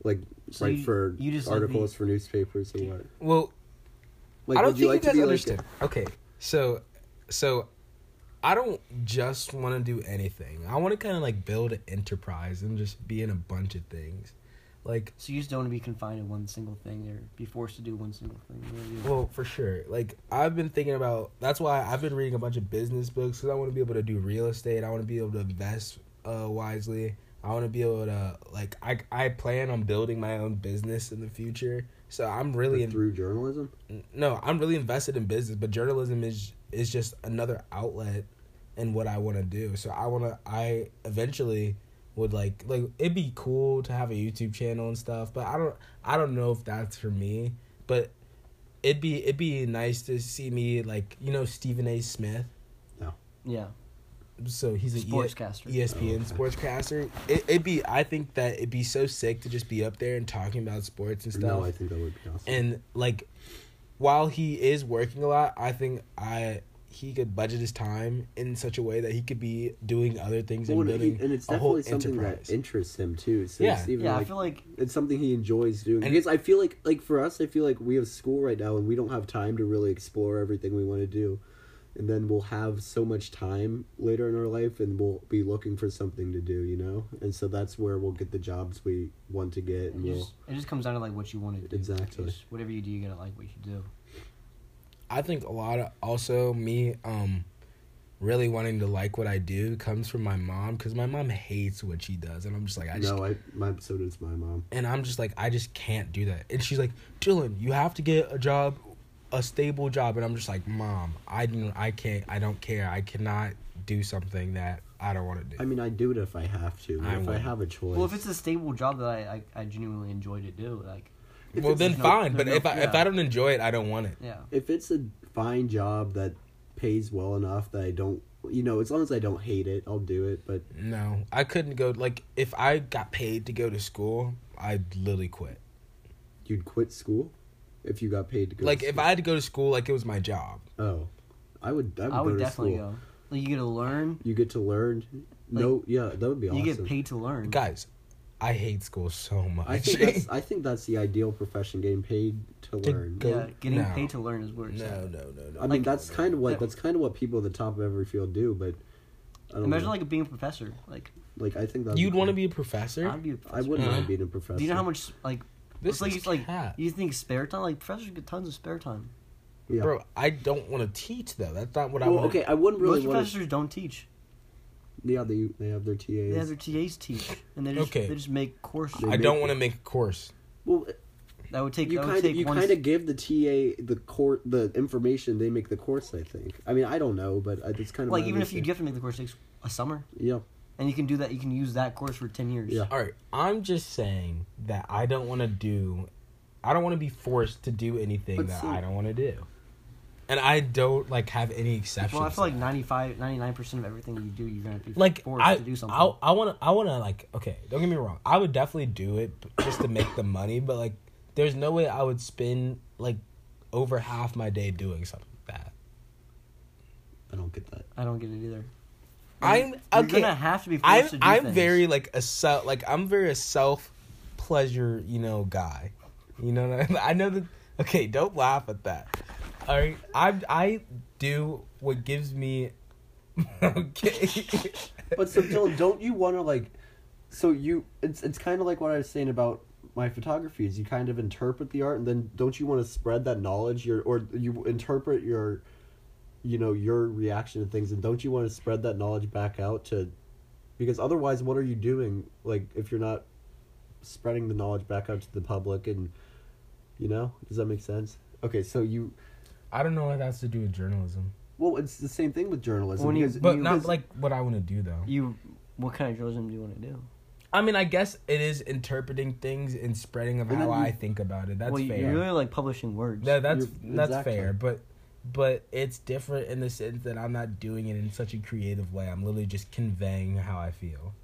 Speaker 3: like
Speaker 4: So
Speaker 3: write
Speaker 4: you-
Speaker 3: for
Speaker 4: you just like
Speaker 3: articles for newspapers or what
Speaker 1: Well,
Speaker 3: like
Speaker 1: I don't
Speaker 3: would
Speaker 1: think
Speaker 3: you
Speaker 1: you,
Speaker 3: like to
Speaker 1: guys
Speaker 3: be
Speaker 1: understand.
Speaker 3: like
Speaker 1: okay, so, so, I don't just want to do anything. I want to kind of like build an enterprise and just be in a bunch of things. Like,
Speaker 4: So you just don't want to be confined to one single thing or be forced to do one single thing. You wanna do-
Speaker 1: Well, for sure. Like I've been thinking about. That's why I've been reading a bunch of business books because I want to be able to do real estate. I want to be able to invest uh, wisely. I want to be able to like. I I plan on building my own business in the future. So I'm really
Speaker 3: but
Speaker 1: in,
Speaker 3: through journalism
Speaker 1: no. I'm really invested in business, but journalism is is just another outlet in what I want to do. So I want to. I eventually would like like it'd be cool to have a YouTube channel and stuff, but I don't I don't know if that's for me. But it'd be it'd be nice to see me like you know Stephen A. Smith.
Speaker 4: yeah,
Speaker 1: So he's a E
Speaker 4: sportscaster.
Speaker 1: ESPN
Speaker 3: Oh,
Speaker 1: sportscaster. It, it'd be I think that it'd be so sick to just be up there and talking about sports and stuff
Speaker 3: no i think that would be awesome
Speaker 1: and like while he is working a lot i think i he could budget his time in such a way that he could be doing other things
Speaker 3: Well,
Speaker 1: and
Speaker 3: and, he-
Speaker 1: building
Speaker 3: and it's
Speaker 1: a whole
Speaker 3: definitely something
Speaker 1: enterprise
Speaker 3: that interests him too so
Speaker 1: Yeah.
Speaker 3: it's even
Speaker 4: yeah.
Speaker 3: like,
Speaker 4: I feel like
Speaker 3: it's something he enjoys doing.
Speaker 1: And-
Speaker 3: because I feel like, like for us, I feel like we have school right now and we don't have time to really explore everything we want to do. And then we'll have so much time later in our life and we'll be looking for something to do, you know? And so that's where we'll get the jobs we want to get.
Speaker 4: it
Speaker 3: And we'll,
Speaker 4: just, it just comes down to like what you want to do.
Speaker 3: Exactly.
Speaker 4: Just whatever you do, you gotta like what you do.
Speaker 1: i think a lot of also me um really wanting to like what i do comes from my mom because my mom hates what she does and i'm just like i just
Speaker 3: no, I, my, so does my mom.
Speaker 1: and i'm just like i just can't do that and she's like dylan you have to get a job a stable job and i'm just like mom i don't i can't i don't care i cannot do something that i don't want to do
Speaker 3: I mean, I do it if I have to, but
Speaker 1: I
Speaker 3: if I
Speaker 1: wouldn't.
Speaker 3: have a choice.
Speaker 4: Well, if it's a stable job that I I, I genuinely enjoy to do, like
Speaker 3: If
Speaker 1: well
Speaker 3: it's-
Speaker 1: then
Speaker 4: there's no-
Speaker 1: fine but
Speaker 4: there's no-
Speaker 1: if I, if
Speaker 4: yeah.
Speaker 1: I don't enjoy it i don't want it
Speaker 4: yeah,
Speaker 3: if it's a fine job that pays well enough that I don't, you know, as long as I don't hate it, I'll do it. But
Speaker 1: no i couldn't go like if i got paid to go to school i'd literally quit
Speaker 3: you'd quit school if you got paid to go. to
Speaker 1: like if
Speaker 3: school.
Speaker 1: i had to go to school like it was my job
Speaker 3: Oh, I would. I would,
Speaker 4: I would
Speaker 3: go to
Speaker 4: definitely
Speaker 3: school.
Speaker 4: go. Like you get to learn,
Speaker 3: You get to learn. no, yeah, that would be awesome.
Speaker 4: you get paid to learn.
Speaker 1: guys i hate school so much
Speaker 3: I think that's. I think that's the ideal profession. Getting paid to
Speaker 1: To
Speaker 3: learn.
Speaker 1: go-
Speaker 4: yeah, getting
Speaker 1: No.
Speaker 4: paid to learn is where it's
Speaker 1: no
Speaker 4: at.
Speaker 1: no no no
Speaker 3: I mean,
Speaker 1: no,
Speaker 3: that's
Speaker 1: no,
Speaker 3: kind of
Speaker 1: no.
Speaker 3: what
Speaker 4: Yeah.
Speaker 3: that's kind of what people at the top of every field do. But I don't
Speaker 4: Imagine
Speaker 3: know.
Speaker 4: like being a professor. Like
Speaker 3: like I think that
Speaker 1: you'd want to be Uh-huh. a professor
Speaker 4: I'd be a professor. Uh-huh.
Speaker 3: I wouldn't
Speaker 1: Yeah.
Speaker 3: mind being a professor.
Speaker 4: Do you know how much like
Speaker 1: this
Speaker 4: it's like
Speaker 1: is
Speaker 4: it's like
Speaker 1: cat.
Speaker 4: you think spare time? Like professors get tons of spare time.
Speaker 3: Yeah.
Speaker 1: Bro, I don't want to teach though. That's not what I
Speaker 3: well,
Speaker 1: want.
Speaker 3: okay, I wouldn't really
Speaker 4: Most
Speaker 3: want to.
Speaker 4: professors don't teach.
Speaker 3: Yeah, they they have their TAs.
Speaker 4: They have their TAs teach, and they just
Speaker 1: Okay.
Speaker 4: they just make courses.
Speaker 3: They
Speaker 1: I
Speaker 3: make
Speaker 1: don't
Speaker 3: it.
Speaker 1: want to make a course.
Speaker 3: well,
Speaker 4: That would take
Speaker 3: you
Speaker 4: that
Speaker 3: kind
Speaker 4: would
Speaker 3: of
Speaker 4: take
Speaker 3: you
Speaker 4: one.
Speaker 3: kind of give the TA the court the information they make the course. I think. I mean, I don't know, but I- it's kind of
Speaker 4: like
Speaker 3: my
Speaker 4: even if you do
Speaker 3: understanding.
Speaker 4: have to make the course, it takes a summer,
Speaker 3: Yeah,
Speaker 4: and you can do that. You can use that course for ten years.
Speaker 3: Yeah.
Speaker 1: All right, I'm just saying that I don't want to do, I don't want to be forced to do anything
Speaker 3: But
Speaker 1: that
Speaker 3: see-
Speaker 1: I don't want to do, and I don't like have any exceptions.
Speaker 4: Well, I feel like 95, 99 percent of everything you do, you're gonna be
Speaker 1: like
Speaker 4: forced
Speaker 1: I,
Speaker 4: to do something.
Speaker 1: I, I want to, I want to like. Okay, don't get me wrong. I would definitely do it b- just to make the money, but like, there's no way I would spend like over half my day doing something like that.
Speaker 3: I don't get that.
Speaker 4: I don't get it either.
Speaker 1: I'm
Speaker 4: You're
Speaker 1: okay.
Speaker 4: gonna have to be forced
Speaker 1: I'm
Speaker 4: to do
Speaker 1: I'm
Speaker 4: things.
Speaker 1: very like a self like I'm very a self pleasure you know guy, you know what I, mean? I know that okay don't laugh at that, all right I I do what gives me okay
Speaker 3: But so Dylan, don't you want to like? So you, it's it's kind of like what I was saying about my photography is you kind of interpret the art, and then don't you want to spread that knowledge? Your or you interpret your, you know, your reaction to things, and don't you want to spread that knowledge back out to, because otherwise, what are you doing? Like if you're not spreading the knowledge back out to the public, and you know, does that make sense? Okay, so you.
Speaker 1: I don't know what that has to do with journalism,
Speaker 3: Well, it's the same thing with journalism.
Speaker 4: When you-
Speaker 3: because-
Speaker 1: but not
Speaker 3: because-
Speaker 1: like what I want to do though.
Speaker 4: You, what kind of journalism do you want to do?
Speaker 1: I mean I guess it is interpreting things and spreading of
Speaker 3: And
Speaker 1: how
Speaker 3: then you-
Speaker 1: I think about it. That's
Speaker 4: well, you-
Speaker 1: fair.
Speaker 4: you're really like publishing words.
Speaker 1: No, that's
Speaker 3: You're-
Speaker 1: that's
Speaker 3: exactly.
Speaker 1: fair, but but it's different in the sense that I'm not doing it in such a creative way. I'm literally just conveying how I feel.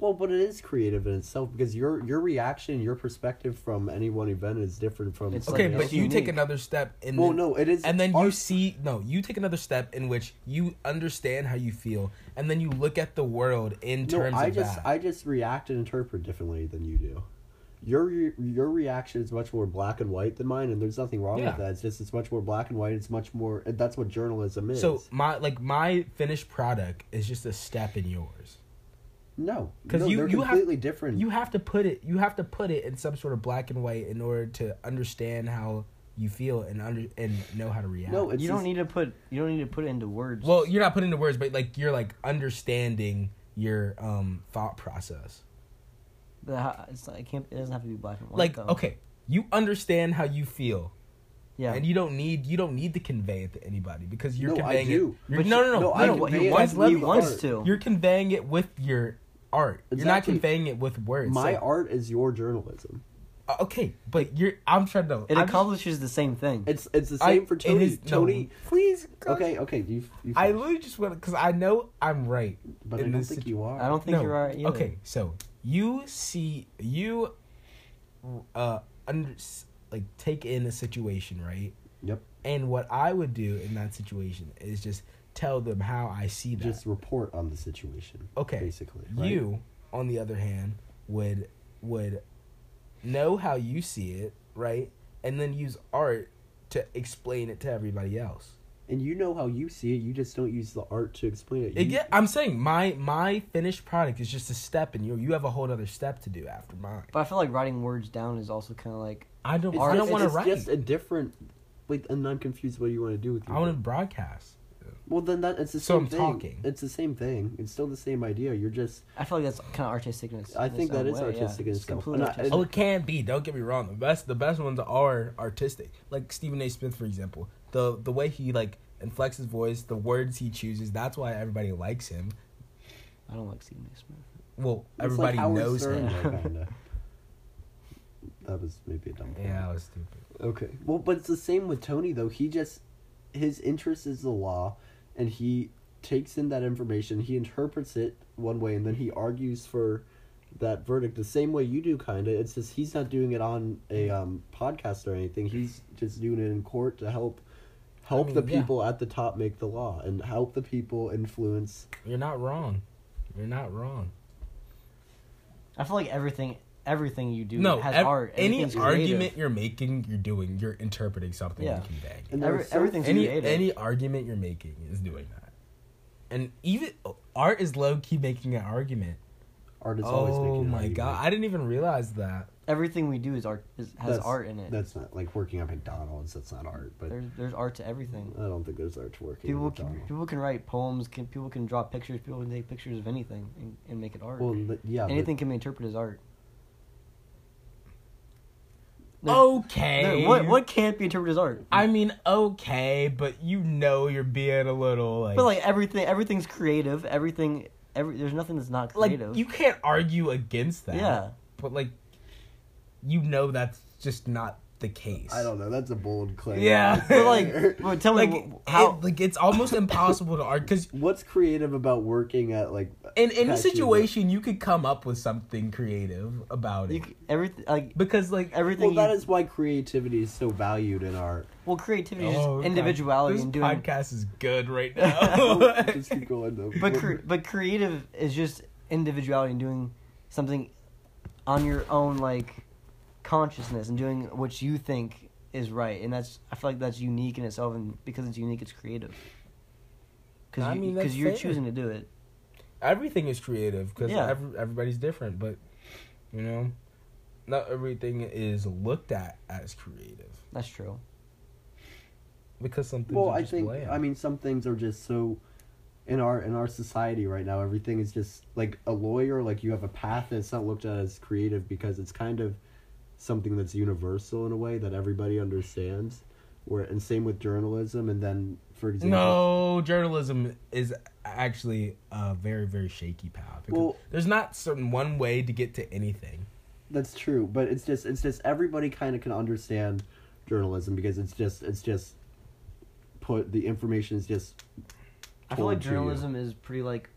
Speaker 3: Well, but it is creative in itself because your your reaction, your perspective from any one event is different from.
Speaker 4: It's
Speaker 1: Okay,
Speaker 3: something
Speaker 4: like,
Speaker 1: but
Speaker 3: else.
Speaker 1: you take
Speaker 4: unique.
Speaker 1: another step and
Speaker 3: Well,
Speaker 1: then,
Speaker 3: no, it is.
Speaker 1: and then you
Speaker 3: art-
Speaker 1: see no, you take another step in which you understand how you feel, and then you look at the world in
Speaker 3: No,
Speaker 1: terms
Speaker 3: I
Speaker 1: of
Speaker 3: just
Speaker 1: that.
Speaker 3: I just react and interpret differently than you do. Your re- your reaction is much more black and white than mine, and there's nothing wrong
Speaker 1: Yeah.
Speaker 3: with that. It's just it's much more black and white. It's much more. and That's what journalism is.
Speaker 1: so my like my finished product is just a step in yours.
Speaker 3: no,
Speaker 1: 'Cause
Speaker 3: no,
Speaker 1: you-
Speaker 3: they're
Speaker 1: you have-
Speaker 3: completely different.
Speaker 1: You have to put it. You have to put it in some sort of black and white in order to understand how you feel and under and know how to react.
Speaker 3: no, it's
Speaker 4: you don't
Speaker 3: just-
Speaker 4: need to put you don't need to put it into words.
Speaker 1: Well, you're not putting into words, but like you're like understanding your um thought process.
Speaker 4: But how- it's not, it can't. It doesn't have to be black and white.
Speaker 1: Like
Speaker 4: though.
Speaker 1: okay, you understand how you feel,
Speaker 4: yeah.
Speaker 1: and you don't need you don't need to convey it to anybody because you're
Speaker 3: No, I
Speaker 1: conveying
Speaker 3: do.
Speaker 1: it. You're,
Speaker 3: But
Speaker 1: no,
Speaker 3: you-
Speaker 1: no, no,
Speaker 3: no,
Speaker 1: no.
Speaker 3: I
Speaker 1: no,
Speaker 3: convey
Speaker 1: you
Speaker 3: it
Speaker 1: want-
Speaker 3: as
Speaker 1: let
Speaker 3: you
Speaker 1: me-
Speaker 3: want
Speaker 1: art.
Speaker 4: to.
Speaker 1: You're conveying it with your art. You're not
Speaker 3: Exactly.
Speaker 1: conveying it with words.
Speaker 3: my
Speaker 1: So-
Speaker 3: art is your journalism.
Speaker 1: uh, okay, but you're. I'm trying to.
Speaker 4: it
Speaker 1: I'm-
Speaker 4: accomplishes the same thing.
Speaker 3: It's it's the
Speaker 1: I-
Speaker 3: same for
Speaker 1: it
Speaker 3: Tony.
Speaker 1: is- no.
Speaker 3: Tony.
Speaker 1: please. God.
Speaker 3: Okay, okay. You, you
Speaker 1: I literally just want because I know I'm right.
Speaker 3: but I
Speaker 1: in
Speaker 3: don't
Speaker 1: this
Speaker 3: think
Speaker 1: situ-
Speaker 3: you are.
Speaker 4: I don't think you're right. Either.
Speaker 1: Okay, so you see you uh under s- like take in a situation, right?
Speaker 3: Yep.
Speaker 1: And what I would do in that situation is just tell them how I see that.
Speaker 3: just report on the situation.
Speaker 1: okay.
Speaker 3: basically. right?
Speaker 1: You, on the other hand, would would know how you see it, right? And then use art to explain it to everybody else.
Speaker 3: and you know how you see it. You just don't use the art to explain it.
Speaker 1: It,
Speaker 3: You-
Speaker 1: yeah, I'm saying my my finished product is just a step, and you you have a whole other step to do after mine.
Speaker 4: But I feel like writing words down is also kind of like
Speaker 1: I don't.
Speaker 3: it's
Speaker 1: I
Speaker 3: just-
Speaker 1: don't want to
Speaker 3: it's
Speaker 1: write.
Speaker 3: Just a different. Like, and I'm confused. What you want to do with?
Speaker 1: I
Speaker 3: your
Speaker 1: want to
Speaker 3: thing.
Speaker 1: broadcast.
Speaker 3: Well, then that it's the
Speaker 1: So
Speaker 3: same
Speaker 1: I'm
Speaker 3: thing.
Speaker 1: talking.
Speaker 3: It's the same thing. It's still the same idea. You're just.
Speaker 4: I feel like that's kind of artistic. In its,
Speaker 3: I
Speaker 4: in its
Speaker 3: think that
Speaker 4: own way,
Speaker 3: is
Speaker 4: yeah.
Speaker 3: artistic in
Speaker 4: It's
Speaker 3: itself.
Speaker 4: completely
Speaker 3: And I-
Speaker 4: artistic.
Speaker 1: Oh, it can be. Don't get me wrong. The best, the best ones are artistic. Like Stephen A. Smith, for example. The the way he like inflects his voice, the words he chooses. That's why everybody likes him.
Speaker 4: I don't like Stephen A. Smith.
Speaker 1: Well,
Speaker 3: It's
Speaker 1: everybody
Speaker 3: like Howard
Speaker 1: knows
Speaker 3: Stern,
Speaker 1: him.
Speaker 3: Kinda. that was maybe a dumb. point.
Speaker 1: Yeah, I was stupid.
Speaker 3: Okay. Well, but it's the same with Tony though. He just his interest is the law, and he takes in that information. He interprets it one way, and then he argues for that verdict the same way you do. Kinda. It's just he's not doing it on a um, podcast or anything. He's just doing it in court to help help
Speaker 1: mean,
Speaker 3: the
Speaker 1: yeah.
Speaker 3: people at the top make the law and help the people influence.
Speaker 1: You're not wrong. You're not wrong.
Speaker 4: I feel like everything, everything you do
Speaker 1: no,
Speaker 4: has
Speaker 1: ev-
Speaker 4: art.
Speaker 1: any
Speaker 4: Everything's
Speaker 1: argument
Speaker 4: creative.
Speaker 1: you're making, you're doing. You're interpreting something
Speaker 4: Yeah.
Speaker 1: and conveying. it.
Speaker 3: And there
Speaker 4: Every-
Speaker 3: are so-
Speaker 4: everything's
Speaker 1: any
Speaker 4: creative.
Speaker 1: any argument you're making is doing that. And even art is low key making an argument.
Speaker 3: Art is always making.
Speaker 1: oh
Speaker 3: it how
Speaker 1: my
Speaker 3: you
Speaker 1: god, I didn't even realize that.
Speaker 2: Everything we do is art is,
Speaker 3: make-
Speaker 2: has
Speaker 3: that's-
Speaker 2: art in it.
Speaker 3: That's not like working at McDonald's. That's not art, but
Speaker 2: There's there's art to everything.
Speaker 3: I don't think there's art to working
Speaker 2: People
Speaker 3: at
Speaker 2: can
Speaker 3: McDonald's.
Speaker 2: people can write poems. Can people can draw pictures. People can take pictures of anything and, and make it art.
Speaker 3: well, th- yeah, but-
Speaker 2: anything can be interpreted as art. There-
Speaker 1: Oh, Okay.
Speaker 2: there- what what can't be interpreted as art?
Speaker 1: I mean, okay, but you know you're being a little like.
Speaker 2: But like everything, everything's creative. Everything, every there's nothing that's not
Speaker 1: like,
Speaker 2: creative.
Speaker 1: you can't argue against that.
Speaker 2: yeah,
Speaker 1: But like, you know that's just not the case.
Speaker 3: I don't know. That's a bold claim.
Speaker 1: Yeah.
Speaker 2: but like, well, tell
Speaker 1: Like,
Speaker 2: me wh-
Speaker 1: how?
Speaker 2: how.
Speaker 1: like it's almost impossible to argue because
Speaker 3: what's creative about working at like
Speaker 1: in any
Speaker 3: Got you, but-
Speaker 1: situation you could come up with something creative about
Speaker 2: you
Speaker 1: it
Speaker 2: c- everything like
Speaker 1: because like
Speaker 2: everything.
Speaker 3: Well, that
Speaker 2: you-
Speaker 3: is why creativity is so valued in art.
Speaker 2: well, creativity is
Speaker 1: Oh,
Speaker 2: just
Speaker 1: God.
Speaker 2: individuality
Speaker 1: This
Speaker 2: and doing.
Speaker 1: podcast is good right
Speaker 3: Just
Speaker 1: now.
Speaker 3: keep going though.
Speaker 2: But cre- but creative is just individuality and doing something on your own like consciousness and doing what you think is right and that's I feel like that's unique in itself and because it's unique it's creative. Because
Speaker 1: I
Speaker 2: you,
Speaker 1: mean, that's
Speaker 2: because you're
Speaker 1: fair.
Speaker 2: choosing to do it.
Speaker 1: everything is creative because
Speaker 2: Yeah.
Speaker 1: everybody's different, but you know, not everything is looked at as creative
Speaker 2: That's true.
Speaker 1: because some things
Speaker 3: well,
Speaker 1: are
Speaker 3: I
Speaker 1: just
Speaker 3: think
Speaker 1: bland.
Speaker 3: I mean some things are just so in our in our society right now. Everything is just like a lawyer. Like you have a path, and it's not looked at as creative because it's kind of something that's universal in a way that everybody understands. Where and same with journalism, and then for example,
Speaker 1: no journalism is actually a very very shaky path. because
Speaker 3: Well-
Speaker 1: there's not certain one way to get to anything.
Speaker 3: That's true, but it's just it's just everybody kind of can understand journalism because it's just it's just put the information is just
Speaker 2: I feel like
Speaker 3: told to you.
Speaker 2: journalism is pretty like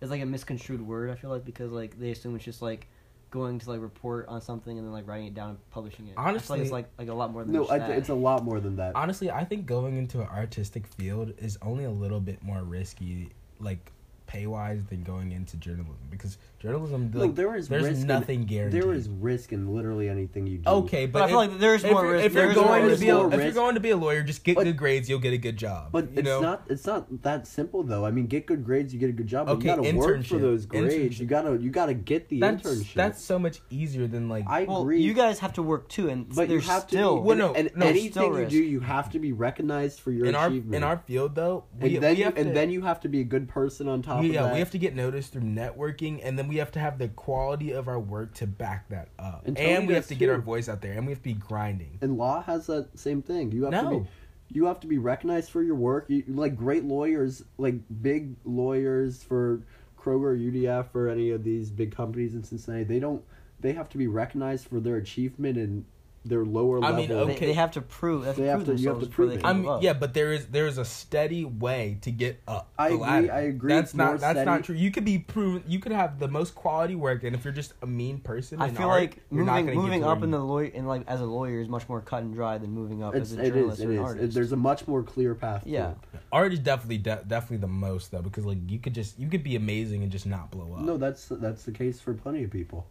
Speaker 2: it's like a misconstrued word. I feel like because like they assume it's just like going to like report on something and then like writing it down and publishing it. I feel like
Speaker 1: Honestly-
Speaker 2: it's like like a lot more than
Speaker 3: No,
Speaker 2: just
Speaker 3: I,
Speaker 2: that.
Speaker 3: it's a lot more than that.
Speaker 1: Honestly, I think going into an artistic field is only a little bit more risky, like pay wise, than going into journalism because journalism
Speaker 3: No,
Speaker 1: like,
Speaker 3: there is
Speaker 1: there's
Speaker 3: risk in-
Speaker 1: nothing guaranteed.
Speaker 3: There is risk in literally anything you do.
Speaker 1: Okay, but,
Speaker 2: But I feel
Speaker 1: if-
Speaker 2: like there's
Speaker 1: if
Speaker 2: more
Speaker 1: you're-
Speaker 2: risk-
Speaker 1: If you're
Speaker 2: there's more
Speaker 1: going to
Speaker 2: risk,
Speaker 1: be a,
Speaker 3: more
Speaker 1: if you're
Speaker 3: risk.
Speaker 1: going to be a lawyer, just get
Speaker 3: But-
Speaker 1: good grades. You'll get a good job.
Speaker 3: but
Speaker 1: you
Speaker 3: it's
Speaker 1: know?
Speaker 3: not it's not that simple though. I mean, get good grades, you get a good job. But
Speaker 1: Okay,
Speaker 3: you gotta work for
Speaker 1: internship.
Speaker 3: those grades.
Speaker 1: Internship.
Speaker 3: You gotta you gotta get the
Speaker 1: that's
Speaker 3: internship.
Speaker 1: that's so much easier than like.
Speaker 3: I
Speaker 2: well,
Speaker 3: agree.
Speaker 2: you guys have to work too, and
Speaker 3: but you
Speaker 2: there's
Speaker 3: have to
Speaker 2: still
Speaker 3: be,
Speaker 1: Well,
Speaker 3: and,
Speaker 1: no,
Speaker 3: and
Speaker 1: no,
Speaker 3: anything
Speaker 2: still
Speaker 3: you
Speaker 2: risk.
Speaker 3: do, you have to be recognized for your
Speaker 1: in our
Speaker 3: achievement.
Speaker 1: in our field though,
Speaker 3: and
Speaker 1: we,
Speaker 3: then
Speaker 1: we
Speaker 3: you,
Speaker 1: have
Speaker 3: and
Speaker 1: to,
Speaker 3: then you have to be a good person on top
Speaker 1: we-
Speaker 3: of
Speaker 1: yeah,
Speaker 3: that.
Speaker 1: we have to get noticed through networking, and then we have to have the quality of our work to back that up,
Speaker 3: And
Speaker 1: and,
Speaker 3: Tony
Speaker 1: we have
Speaker 3: does
Speaker 1: to get our
Speaker 3: too.
Speaker 1: voice out there, and we have to be grinding.
Speaker 3: and law has that same thing. You have to
Speaker 1: No.
Speaker 3: be you have to be recognized for your work. You like great lawyers, like big lawyers for Kroger, UDF, or any of these big companies in Cincinnati. They don't. They have to be recognized for their achievement and their lower
Speaker 1: I
Speaker 3: level.
Speaker 1: mean,
Speaker 2: they,
Speaker 1: okay.
Speaker 2: they have to prove. They have to
Speaker 3: They have
Speaker 2: prove
Speaker 3: to- you have
Speaker 2: themselves
Speaker 3: to
Speaker 2: before
Speaker 3: prove
Speaker 2: they
Speaker 3: it.
Speaker 2: can
Speaker 1: I mean,
Speaker 2: move up.
Speaker 1: yeah, but there is there is a steady way to get up.
Speaker 3: I
Speaker 1: the
Speaker 3: agree,
Speaker 1: ladder.
Speaker 3: I agree,
Speaker 1: That's
Speaker 3: it's
Speaker 1: not
Speaker 3: more
Speaker 1: that's
Speaker 3: steady.
Speaker 1: not true. You could be proven. You could have the most quality work, and if you're just a mean person,
Speaker 2: I
Speaker 1: in
Speaker 2: feel
Speaker 1: art,
Speaker 2: like
Speaker 1: you're not
Speaker 2: moving
Speaker 1: gonna get
Speaker 2: moving
Speaker 1: to
Speaker 2: up
Speaker 1: where
Speaker 2: in
Speaker 1: you-
Speaker 2: the lawyer and like as a lawyer is much more cut and dry than moving up
Speaker 3: it's,
Speaker 2: as a
Speaker 3: it
Speaker 2: journalist
Speaker 3: is. It
Speaker 2: or an
Speaker 3: is.
Speaker 2: artist.
Speaker 3: there's a much more clear path.
Speaker 2: Yeah.
Speaker 3: To it.
Speaker 1: art is definitely de- definitely the most though because like you could just you could be amazing and just not blow up.
Speaker 3: No, that's that's the case for plenty of people.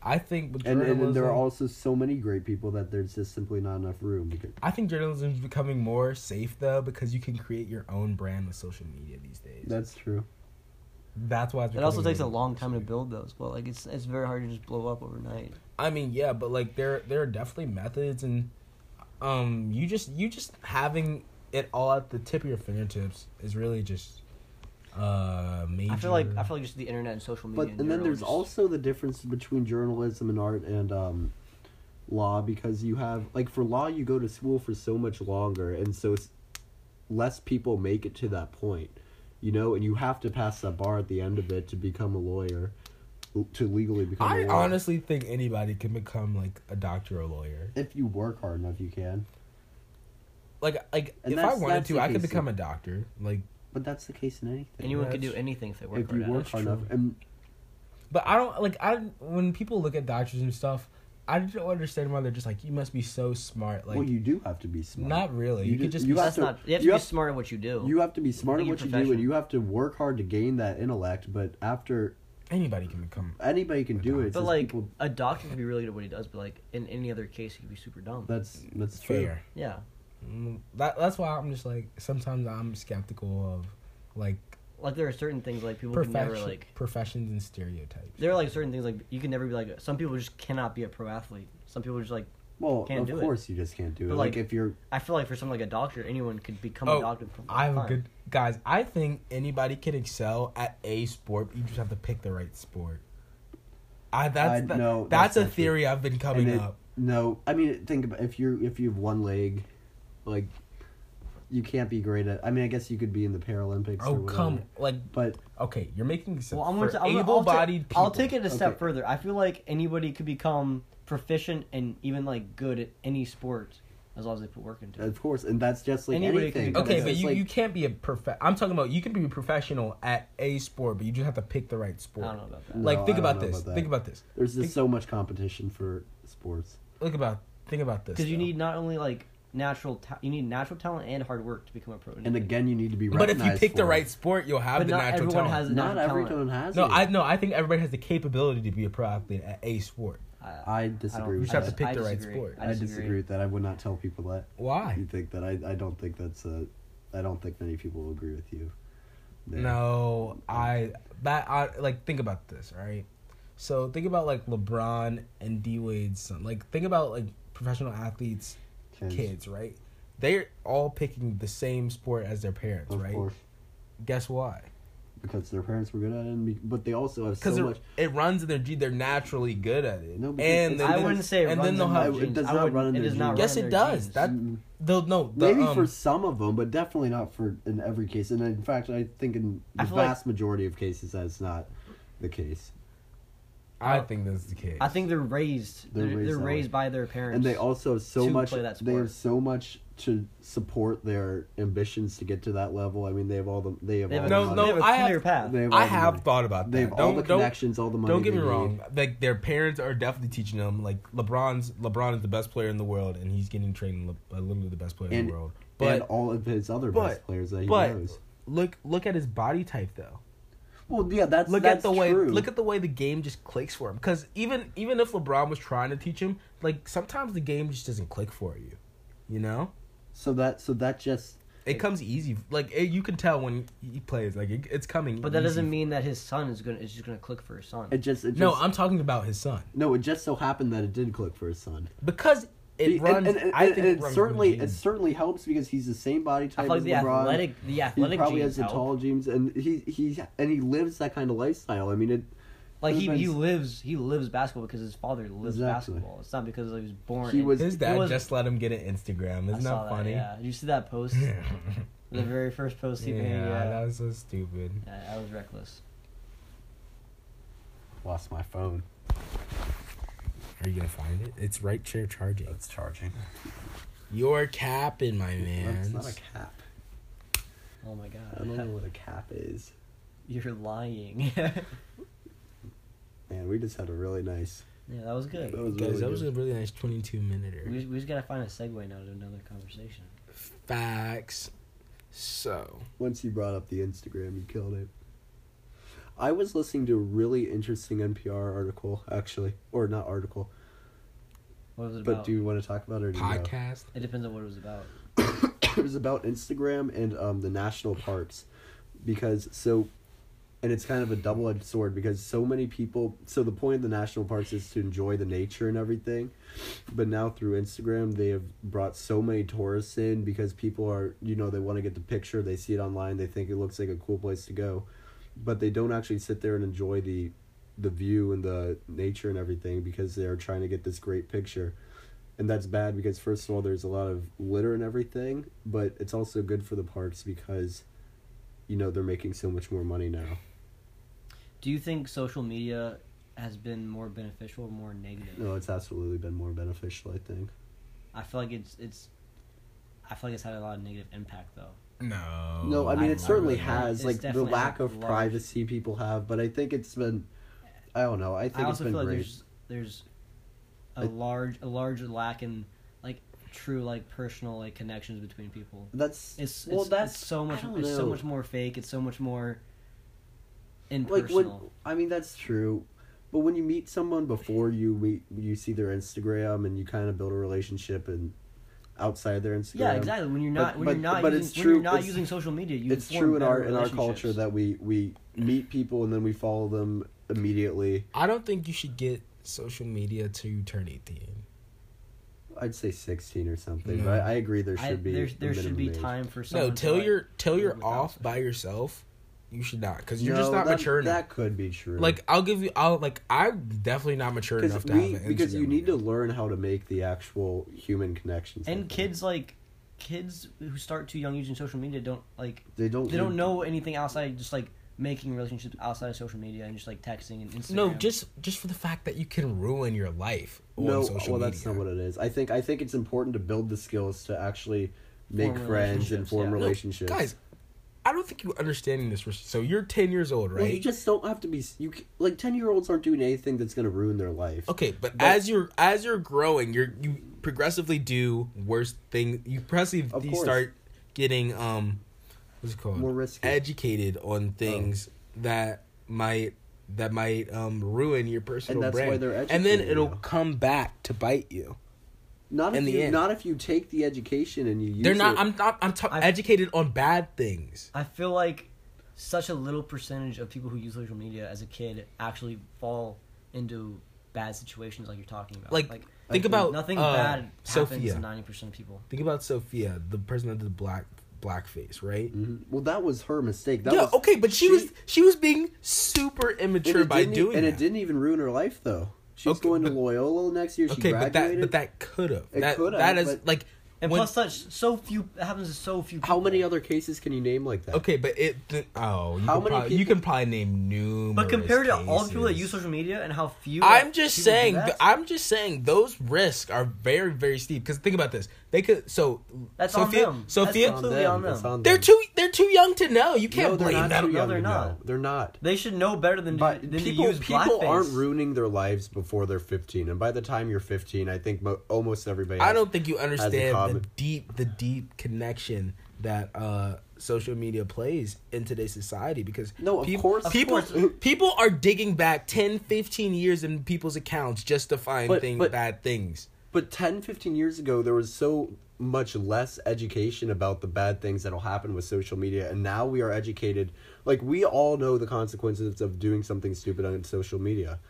Speaker 1: I think with
Speaker 3: And,
Speaker 1: journalism,
Speaker 3: and there are also so many great people that there's just simply not enough room. Because,
Speaker 1: I think journalism is becoming more safe though because you can create your own brand with social media these days.
Speaker 3: that's true.
Speaker 1: that's why it's
Speaker 2: It also
Speaker 1: becoming
Speaker 2: takes a
Speaker 1: really-
Speaker 2: long time to build those. Well, like it's it's very hard to just blow up overnight.
Speaker 1: I mean, yeah, but like there there are definitely methods and um you just you just having it all at the tip of your fingertips is really just uh major
Speaker 2: I feel like I feel like just the internet and social media.
Speaker 3: But
Speaker 2: in
Speaker 3: and then
Speaker 2: general
Speaker 3: there's
Speaker 2: just-
Speaker 3: also the difference between journalism and art and um, law because you have like for law you go to school for so much longer and so it's less people make it to that point, you know, and you have to pass that bar at the end of it to become a lawyer, to legally become. a
Speaker 1: I
Speaker 3: lawyer.
Speaker 1: honestly think anybody can become like a doctor or lawyer.
Speaker 3: if you work hard enough, you can.
Speaker 1: Like like
Speaker 3: And
Speaker 1: if I
Speaker 3: that's-
Speaker 1: wanted
Speaker 3: that's
Speaker 1: to,
Speaker 3: the
Speaker 1: I could
Speaker 3: case.
Speaker 1: become a doctor. Like
Speaker 3: But that's the case in anything.
Speaker 2: anyone could do
Speaker 1: That's-
Speaker 2: anything if they work
Speaker 3: if
Speaker 2: hard
Speaker 3: you
Speaker 2: at it.
Speaker 3: work
Speaker 1: that's
Speaker 3: hard
Speaker 1: true.
Speaker 3: enough, and
Speaker 1: But I don't like I when people look at doctors and stuff, I don't understand why they're just like you must be so smart. Like
Speaker 3: well, you do have to be smart.
Speaker 1: not really.
Speaker 3: You
Speaker 1: You,
Speaker 3: ju-
Speaker 1: could just
Speaker 3: you
Speaker 1: be,
Speaker 3: have
Speaker 2: That's not. You have to
Speaker 3: you
Speaker 2: be
Speaker 3: have-
Speaker 2: smart at what you do.
Speaker 3: You have to be smart at
Speaker 2: Like
Speaker 3: what
Speaker 2: your
Speaker 3: you do, and
Speaker 2: profession.
Speaker 3: you have to work hard to gain that intellect. But after
Speaker 1: anybody can become.
Speaker 3: anybody can do it, it's
Speaker 2: but
Speaker 3: just
Speaker 2: like
Speaker 3: people,
Speaker 2: a doctor could be really good at what he does, but like in any other case, he could be super dumb.
Speaker 3: that's that's true.
Speaker 1: fair.
Speaker 2: yeah,
Speaker 1: Mm, That that's why I'm just like sometimes I'm skeptical of like
Speaker 2: like there are certain things like people can never
Speaker 1: Perfection,
Speaker 2: like.
Speaker 1: professions and stereotypes.
Speaker 2: There are like certain things like you can never be like. Some people just cannot be a pro athlete. Some people just like.
Speaker 3: Well,
Speaker 2: Can't do
Speaker 3: of
Speaker 2: it.
Speaker 3: course you just can't do it.
Speaker 2: But,
Speaker 3: Like,
Speaker 2: like,
Speaker 3: if you're
Speaker 2: I feel like for someone like a doctor, anyone could become
Speaker 1: Oh,
Speaker 2: a doctor.
Speaker 1: I have a
Speaker 2: fine.
Speaker 1: good guys. I think anybody can excel at a sport. You just have to pick the right sport. I that's
Speaker 3: I-
Speaker 1: the-
Speaker 3: no,
Speaker 1: that's,
Speaker 3: that's
Speaker 1: a
Speaker 3: not true.
Speaker 1: theory I've been coming
Speaker 3: And it-
Speaker 1: up.
Speaker 3: No, I mean think about if you're if you have one leg, like you can't be great at. I mean, I guess you could be in the Paralympics.
Speaker 1: Oh
Speaker 3: or whatever,
Speaker 1: come like
Speaker 3: But
Speaker 1: okay, you're making sense.
Speaker 2: Well, I'm gonna.
Speaker 1: for
Speaker 2: ta- I'm gonna- I'll, ta-
Speaker 1: able-bodied people.
Speaker 2: I'll take it a step
Speaker 3: Okay.
Speaker 2: further. I feel like anybody could become proficient and even like good at any sport as long as they put work into it.
Speaker 3: of course, and that's just like
Speaker 2: Anybody can
Speaker 3: anything.
Speaker 2: become
Speaker 1: Okay,
Speaker 2: Because
Speaker 1: but
Speaker 3: It's
Speaker 1: you,
Speaker 3: like-
Speaker 1: you can't be a prof. I'm talking about you can be a professional at a sport, but you just have to pick the right
Speaker 2: I
Speaker 1: sport.
Speaker 2: don't know about that.
Speaker 1: Like
Speaker 3: No,
Speaker 1: think
Speaker 3: I don't
Speaker 1: about
Speaker 3: know
Speaker 1: this.
Speaker 3: about that.
Speaker 1: think about this.
Speaker 3: there's just so much competition for sports.
Speaker 1: Look about think about this.
Speaker 2: Because you
Speaker 1: though.
Speaker 2: need not only like natural, ta- you need natural talent and hard work to become a pro.
Speaker 3: And again, you need to be.
Speaker 1: But if you
Speaker 3: recognized
Speaker 1: pick the
Speaker 3: for it.
Speaker 1: right sport, you'll have
Speaker 2: But
Speaker 1: the
Speaker 2: not
Speaker 1: natural
Speaker 2: everyone
Speaker 1: talent.
Speaker 2: has
Speaker 3: not
Speaker 2: natural
Speaker 3: every
Speaker 2: talent.
Speaker 3: everyone has
Speaker 1: no,
Speaker 3: it.
Speaker 1: I no, I think everybody has the capability to be a pro athlete at a sport.
Speaker 3: I disagree.
Speaker 1: You
Speaker 3: with
Speaker 1: just have to
Speaker 3: that.
Speaker 1: pick the right sport.
Speaker 3: I disagree with that. I would not tell people that.
Speaker 1: Why?
Speaker 3: You think that I? I don't think that's a. I don't think many people will agree with you. there.
Speaker 1: No, I that I like think about this, all right? So think about like LeBron and D Wade's son. Like think about like professional athletes
Speaker 3: Kids.
Speaker 1: kids, right? They're all picking the same sport as their parents,
Speaker 3: Of
Speaker 1: right?
Speaker 3: course,
Speaker 1: Guess why?
Speaker 3: because their parents were good at it, and be, but they also have so
Speaker 1: Because
Speaker 3: much.
Speaker 1: it runs in their gene. They're naturally good at it.
Speaker 3: No,
Speaker 1: No,
Speaker 3: because
Speaker 1: and
Speaker 3: it's-
Speaker 1: then
Speaker 2: I
Speaker 1: they-
Speaker 2: wouldn't say it
Speaker 1: and then
Speaker 2: runs
Speaker 1: they'll
Speaker 2: in
Speaker 1: have
Speaker 2: their
Speaker 3: it
Speaker 2: genes.
Speaker 3: does
Speaker 2: I
Speaker 3: not
Speaker 2: wouldn't-
Speaker 3: run in
Speaker 2: it
Speaker 3: their
Speaker 2: does not
Speaker 3: genes.
Speaker 2: run
Speaker 1: yes,
Speaker 2: in
Speaker 1: it
Speaker 2: their
Speaker 1: does.
Speaker 2: genes.
Speaker 1: That they'll no the,
Speaker 3: mm, Maybe
Speaker 1: um,
Speaker 3: for some of them, but definitely not for in every case. And in fact, I think in the
Speaker 2: I feel like-
Speaker 3: vast majority of cases, that's not the case.
Speaker 1: I think that's the case.
Speaker 2: I think they're raised.
Speaker 3: They're
Speaker 2: They're, they're
Speaker 3: raised
Speaker 2: raised,
Speaker 3: that way.
Speaker 2: by their parents.
Speaker 3: And they also have so
Speaker 2: To
Speaker 3: much.
Speaker 2: play that
Speaker 3: They have
Speaker 2: sport.
Speaker 3: so much to support their ambitions to get to that level. I mean, they have all the. They have
Speaker 2: They have
Speaker 3: all
Speaker 2: a,
Speaker 1: No,
Speaker 3: the
Speaker 2: they
Speaker 1: no,
Speaker 2: have a
Speaker 1: I have-
Speaker 2: clear path.
Speaker 3: They have all
Speaker 1: I
Speaker 3: the
Speaker 1: have
Speaker 3: money.
Speaker 1: thought about
Speaker 3: They
Speaker 1: that.
Speaker 3: have all the
Speaker 1: Don't- don't-
Speaker 3: connections, all the money.
Speaker 1: Don't get
Speaker 3: they
Speaker 1: me
Speaker 3: need.
Speaker 1: wrong. Like their parents are definitely teaching them. Like LeBron's LeBron is the best player in the world, and he's getting trained li- by literally the best player in
Speaker 3: And-
Speaker 1: the world.
Speaker 3: and
Speaker 1: But
Speaker 3: all of his other best
Speaker 1: but-
Speaker 3: players that he
Speaker 1: but
Speaker 3: knows.
Speaker 1: look look at his body type though.
Speaker 3: Well, yeah, that's
Speaker 1: Look
Speaker 3: that's
Speaker 1: at the way
Speaker 3: True.
Speaker 1: look at the way the game just clicks for him. Because even even if LeBron was trying to teach him, like sometimes the game just doesn't click for you. You know,
Speaker 3: so that so that just
Speaker 1: it comes easy. Like it, you can tell when he plays. Like it, it's coming.
Speaker 2: But that doesn't
Speaker 1: easy.
Speaker 2: mean that his son is gonna is just gonna click for his son.
Speaker 3: it just it just,
Speaker 1: No, I'm talking about his son
Speaker 3: no it just so happened that it did click for his son.
Speaker 1: because it
Speaker 3: Be-
Speaker 1: runs.
Speaker 3: And, and,
Speaker 1: I
Speaker 3: and-
Speaker 1: think
Speaker 3: and
Speaker 1: it,
Speaker 3: it
Speaker 1: runs through
Speaker 3: certainly it
Speaker 1: genes.
Speaker 3: certainly helps because he's the same body
Speaker 2: I
Speaker 3: type
Speaker 2: feel like
Speaker 3: as
Speaker 2: the
Speaker 3: LeBron.
Speaker 2: athletic the
Speaker 3: he
Speaker 2: athletic
Speaker 3: probably
Speaker 2: genes
Speaker 3: has the
Speaker 2: help.
Speaker 3: tall genes, and he he and he lives that kind of lifestyle. I mean, it,
Speaker 2: Like he, he
Speaker 3: Everybody's-
Speaker 2: lives he lives basketball because his father lives
Speaker 3: Exactly.
Speaker 2: basketball. It's not because he was born.
Speaker 3: He
Speaker 2: in-
Speaker 3: was-
Speaker 1: His
Speaker 2: it
Speaker 1: dad
Speaker 2: was-
Speaker 1: just let him get an Instagram.
Speaker 2: I
Speaker 1: Isn't
Speaker 2: saw
Speaker 1: that funny?
Speaker 2: Yeah, Did you see that post? the very first post he made.
Speaker 1: Yeah,
Speaker 3: uh,
Speaker 2: Yeah,
Speaker 1: that was so stupid.
Speaker 2: Yeah, that was reckless.
Speaker 3: lost my phone.
Speaker 1: Are you gonna find it? It's right chair charging.
Speaker 3: charging.
Speaker 1: You're capping, my
Speaker 3: That's
Speaker 1: man.
Speaker 3: not a cap.
Speaker 2: Oh my
Speaker 3: I don't know
Speaker 2: god,
Speaker 3: what a cap is.
Speaker 2: you're lying. yeah,
Speaker 3: Man, we just had a really nice.
Speaker 2: that was good.
Speaker 3: That was really
Speaker 1: Guys, that was
Speaker 3: good.
Speaker 1: a really nice 22
Speaker 2: We
Speaker 1: minute.
Speaker 2: just, we just gotta find a segue now to another conversation.
Speaker 1: Facts. So
Speaker 3: Once you brought up the Instagram, you killed it. I was listening to a really interesting NPR article, actually, or not article,
Speaker 2: What was it
Speaker 3: but
Speaker 2: about?
Speaker 3: do you want to talk about it? Or do you know?
Speaker 1: podcast.
Speaker 2: it depends on what it was about.
Speaker 3: it was about Instagram and um, the national parks because so and it's kind of a double edged sword because so many people so the point of the national parks is to enjoy the nature and everything but now through Instagram they have brought so many tourists in because people are you know they want to get the picture they see it online they think it looks like a cool place to go but they don't actually sit there and enjoy the the view and the nature and everything because they are trying to get this great picture and that's bad because first of all there's a lot of litter and everything but it's also good for the parks because you know they're making so much more money now
Speaker 2: Do you think social media has been more beneficial or more negative?
Speaker 3: no it's absolutely been more beneficial i think
Speaker 2: I feel like it's it's. I feel like it's had a lot of negative impact though.
Speaker 1: No.
Speaker 3: no i mean it
Speaker 2: I
Speaker 3: certainly
Speaker 2: really-
Speaker 3: has
Speaker 2: it's
Speaker 3: like the
Speaker 2: definitely
Speaker 3: lack of
Speaker 2: large.
Speaker 3: privacy people have but i think it's been i don't know i
Speaker 2: I,
Speaker 3: think it's
Speaker 2: also
Speaker 3: been
Speaker 2: feel like
Speaker 3: great
Speaker 2: there's there's a
Speaker 3: I-
Speaker 2: large a large lack in like true like personal like connections between people.
Speaker 3: that's
Speaker 2: It's
Speaker 3: well
Speaker 2: it's,
Speaker 3: that's
Speaker 2: it's so
Speaker 3: I
Speaker 2: much
Speaker 3: don't
Speaker 2: it's so
Speaker 3: know.
Speaker 2: much more fake. It's so much more
Speaker 3: like
Speaker 2: impersonal.
Speaker 3: when I mean that's true, but when you meet someone before you meet, you see their Instagram and you kind of build a relationship and outside of their Instagram.
Speaker 2: Yeah, exactly. When you're
Speaker 3: But-
Speaker 2: not, when
Speaker 3: but-
Speaker 2: you're not,
Speaker 3: but
Speaker 2: using,
Speaker 3: it's
Speaker 2: when
Speaker 3: true-
Speaker 2: you're not
Speaker 3: it's-
Speaker 2: using social media, you
Speaker 3: It's
Speaker 2: form
Speaker 3: true in
Speaker 2: better
Speaker 3: our in our culture
Speaker 2: relationships.
Speaker 3: that we we meet people and then we follow them immediately.
Speaker 1: I don't think you should get social media to you turn 18.
Speaker 3: I'd say sixteen or something.
Speaker 1: Yeah.
Speaker 3: But I, I agree there should
Speaker 2: Mm. I,
Speaker 3: be
Speaker 2: there's,
Speaker 3: a
Speaker 2: there should
Speaker 3: minimum
Speaker 2: be
Speaker 3: age.
Speaker 2: time for someone.
Speaker 1: No, till
Speaker 2: to, like-
Speaker 1: you're till you're
Speaker 2: live without
Speaker 1: off
Speaker 2: social-
Speaker 1: by yourself, you should not because you're just
Speaker 3: No,
Speaker 1: not
Speaker 3: that,
Speaker 1: mature enough.
Speaker 3: That could be true.
Speaker 1: Like I'll give you, I'll like I'm definitely not mature
Speaker 3: because
Speaker 1: enough to
Speaker 3: we
Speaker 1: have an
Speaker 3: because you
Speaker 1: Instagram
Speaker 3: need to
Speaker 1: account.
Speaker 3: learn how to make the actual human connections. I
Speaker 2: and
Speaker 3: think.
Speaker 2: kids like kids who start too young using social media don't like
Speaker 3: they don't
Speaker 2: they don't know anything outside just like making relationships outside of social media and just like texting and Instagram.
Speaker 1: No, just just for the fact that you can ruin your life on
Speaker 3: No, well,
Speaker 1: social media.
Speaker 3: that's not what it is. I think I think it's important to build the skills to actually make
Speaker 2: Form
Speaker 3: friends and
Speaker 2: relationships,
Speaker 3: form
Speaker 2: yeah. No,
Speaker 3: relationships.
Speaker 1: Guys, I don't think you're understanding this. So you're 10 years old,
Speaker 3: Well, you
Speaker 1: right?
Speaker 3: just don't have to be. You c- like ten year olds aren't doing anything that's going to ruin their life.
Speaker 1: Okay, but,
Speaker 3: But-
Speaker 1: as you're as you're growing, you're you progressively do worse things. You
Speaker 3: Of
Speaker 1: progressively
Speaker 3: course.
Speaker 1: start getting um, what's it called?
Speaker 3: More risky.
Speaker 1: Educated
Speaker 3: Oh.
Speaker 1: on things that might that might um ruin your personal
Speaker 3: that's
Speaker 1: brand.
Speaker 3: why they're
Speaker 1: and then
Speaker 3: educating
Speaker 1: it'll
Speaker 3: you.
Speaker 1: come back to bite you.
Speaker 3: Not if
Speaker 1: in the
Speaker 3: you,
Speaker 1: end.
Speaker 3: not if you take the education and you use
Speaker 1: They're not.
Speaker 3: it.
Speaker 1: I'm not. I'm ta-
Speaker 2: I-
Speaker 1: educated on bad things.
Speaker 2: I feel like such a little percentage of people who use social media as a kid actually fall into bad situations like you're talking about.
Speaker 1: Like, think
Speaker 3: I-
Speaker 1: about
Speaker 2: nothing
Speaker 1: uh,
Speaker 2: bad happens
Speaker 1: Sophia.
Speaker 2: to ninety percent of people.
Speaker 1: Think about Sophia, the person that did the black blackface, right?
Speaker 3: Mhm. Well, that was her mistake. That
Speaker 1: yeah,
Speaker 3: was,
Speaker 1: okay, but she, was she was being super
Speaker 3: and it
Speaker 1: immature by
Speaker 3: didn't e-
Speaker 1: doing
Speaker 3: and
Speaker 1: that.
Speaker 3: it didn't even ruin her life though. She's
Speaker 1: Okay,
Speaker 3: going to
Speaker 1: but-
Speaker 3: Loyola next year. She
Speaker 1: okay, but that
Speaker 3: graduated.
Speaker 1: but that could have.
Speaker 3: It
Speaker 1: That
Speaker 3: could've,
Speaker 1: that is
Speaker 3: but-
Speaker 1: like
Speaker 2: And
Speaker 1: when-
Speaker 2: plus, such so few it happens to so few. People.
Speaker 3: How many other cases can you name like that?
Speaker 1: okay, but it th- oh you
Speaker 3: How
Speaker 1: can
Speaker 3: many
Speaker 1: probably, you
Speaker 3: people-
Speaker 1: can probably name numerous.
Speaker 2: But compared to all the people that
Speaker 1: cases.
Speaker 2: use social media and how few.
Speaker 1: I'm
Speaker 2: like,
Speaker 1: just
Speaker 2: people do
Speaker 1: saying.
Speaker 2: that,
Speaker 1: th- I'm just saying those risks are very very steep. Because think about this, they could so
Speaker 2: That's on
Speaker 1: Sophia
Speaker 2: them. That's
Speaker 1: Sophia
Speaker 2: on completely them.
Speaker 3: It's on
Speaker 1: they're
Speaker 3: them.
Speaker 1: too they're too young to know. You can't
Speaker 3: No, they're
Speaker 1: blame
Speaker 3: not
Speaker 1: them.
Speaker 3: too
Speaker 2: No,
Speaker 3: young
Speaker 2: they're
Speaker 3: to
Speaker 2: not.
Speaker 3: know. They're not.
Speaker 2: they should know better than to,
Speaker 3: But
Speaker 2: than
Speaker 3: people,
Speaker 2: to use
Speaker 3: people
Speaker 2: blackface.
Speaker 3: aren't ruining their lives before they're 15, and by the time you're 15, I think mo- almost everybody.
Speaker 1: I
Speaker 3: has-
Speaker 1: don't think you understand the
Speaker 3: common-
Speaker 1: deep the deep connection that uh social media plays in today's society because
Speaker 3: No, of
Speaker 1: peop-
Speaker 3: course- of
Speaker 1: people
Speaker 3: course.
Speaker 1: people are digging back 10 15 years in people's accounts just to find
Speaker 3: But-
Speaker 1: thing,
Speaker 3: but-
Speaker 1: bad things
Speaker 3: But 10, 15 years ago, there was so much less education about the bad things that'll happen with social media, and now we are educated. Like we all know the consequences of doing something stupid on social media,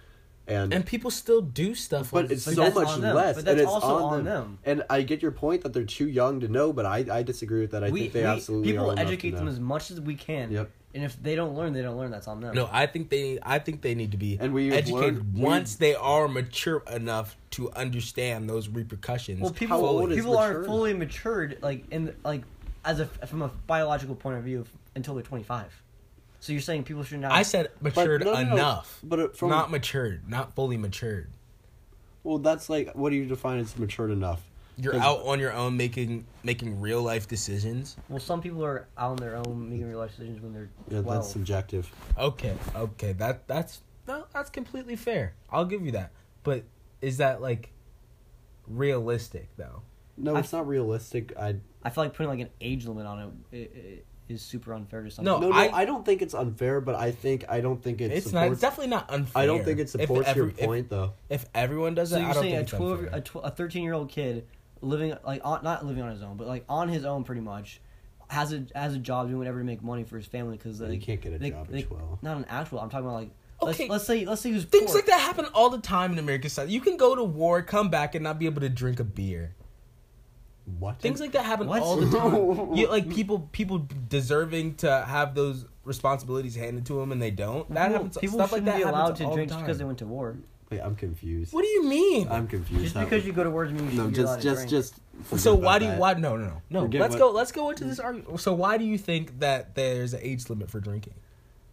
Speaker 3: and.
Speaker 1: and people still do stuff
Speaker 3: but
Speaker 1: on-
Speaker 3: it's
Speaker 2: But
Speaker 3: so
Speaker 2: that's
Speaker 3: much
Speaker 2: on them.
Speaker 3: less,
Speaker 2: But
Speaker 3: and
Speaker 2: that's
Speaker 3: it's
Speaker 2: also
Speaker 3: on,
Speaker 2: on
Speaker 3: them.
Speaker 2: them.
Speaker 3: And I get your point that they're too young to know, but I, I disagree with that. I
Speaker 2: we,
Speaker 3: think they
Speaker 2: we-
Speaker 3: absolutely are
Speaker 2: people
Speaker 3: old enough to
Speaker 2: educate them
Speaker 3: know.
Speaker 2: as much as we can.
Speaker 3: Yep.
Speaker 2: And if they don't learn, they don't learn. That's on them.
Speaker 1: no i think they i think they need to be
Speaker 3: And we've
Speaker 1: educated
Speaker 3: learned- we-
Speaker 1: once they are mature enough to understand those repercussions
Speaker 2: Well, people
Speaker 3: old is
Speaker 2: people aren't
Speaker 3: mature?
Speaker 2: fully matured like in like as a from a biological point of view until they're 25. So you're saying people should not.
Speaker 1: i said matured
Speaker 3: no, no, no.
Speaker 1: enough
Speaker 3: But, uh, from-
Speaker 1: not matured not fully matured
Speaker 3: Well, that's like what do you define as matured enough?
Speaker 1: you're
Speaker 3: 'Cause-
Speaker 1: out on your own making making real life decisions
Speaker 2: well, some people are out on their own making real life decisions when they're
Speaker 3: Yeah,
Speaker 2: 12.
Speaker 3: that's subjective.
Speaker 1: Okay, okay, that that's no, that's completely fair. I'll give you that. But is that like realistic though?
Speaker 3: No,
Speaker 2: I-
Speaker 3: it's not realistic. I
Speaker 2: I feel like putting like an age limit on it, it, it is super unfair to some.
Speaker 1: No,
Speaker 2: people.
Speaker 3: no, no.
Speaker 1: I-
Speaker 3: I, don't think it's unfair, but I think I don't think it
Speaker 1: It's, not. It's
Speaker 3: supports.
Speaker 1: definitely not unfair.
Speaker 3: I don't think it
Speaker 1: If
Speaker 3: supports your
Speaker 1: every- if-
Speaker 3: point though.
Speaker 1: If, everyone does
Speaker 2: So
Speaker 1: it, I
Speaker 2: you're
Speaker 1: don't
Speaker 2: saying
Speaker 1: think
Speaker 2: a
Speaker 1: it's
Speaker 2: twelve,
Speaker 1: unfair.
Speaker 2: a, tw- a thirteen year old kid living like on, not living on his own, but like on his own pretty much, has a has a job doing whatever to make money for his family because
Speaker 3: You
Speaker 2: they
Speaker 3: can't get a
Speaker 2: they-
Speaker 3: job at
Speaker 2: they-
Speaker 3: 12.
Speaker 2: Not an actual. I'm talking about like
Speaker 1: Okay.
Speaker 2: let's, let's say let's say who's
Speaker 1: Things
Speaker 2: poor.
Speaker 1: like that happen all the time in American society. You can go to war, come back, and not be able to drink a beer.
Speaker 3: What
Speaker 1: Things like that happen
Speaker 2: What?
Speaker 1: all the time. you, like people, people deserving to have those responsibilities handed to them, and they don't. That
Speaker 2: People,
Speaker 1: happens.
Speaker 2: people
Speaker 1: stuff like
Speaker 2: shouldn't
Speaker 1: that
Speaker 2: be allowed
Speaker 1: happens
Speaker 2: to
Speaker 1: all the
Speaker 2: drink just
Speaker 1: time.
Speaker 2: because they went to war.
Speaker 3: Wait, I'm confused.
Speaker 1: What do you mean?
Speaker 3: I'm confused.
Speaker 2: Just
Speaker 3: How-
Speaker 2: because you go to war doesn't mean you
Speaker 3: no,
Speaker 2: should be allowed
Speaker 3: just
Speaker 2: to
Speaker 3: just
Speaker 2: drink.
Speaker 3: just.
Speaker 1: So
Speaker 3: forget
Speaker 1: why
Speaker 3: about
Speaker 1: do you
Speaker 3: that.
Speaker 1: why no no no no
Speaker 3: Forget
Speaker 1: let's
Speaker 3: what-
Speaker 1: go let's go into this argument. So why do you think that there's an age limit for drinking?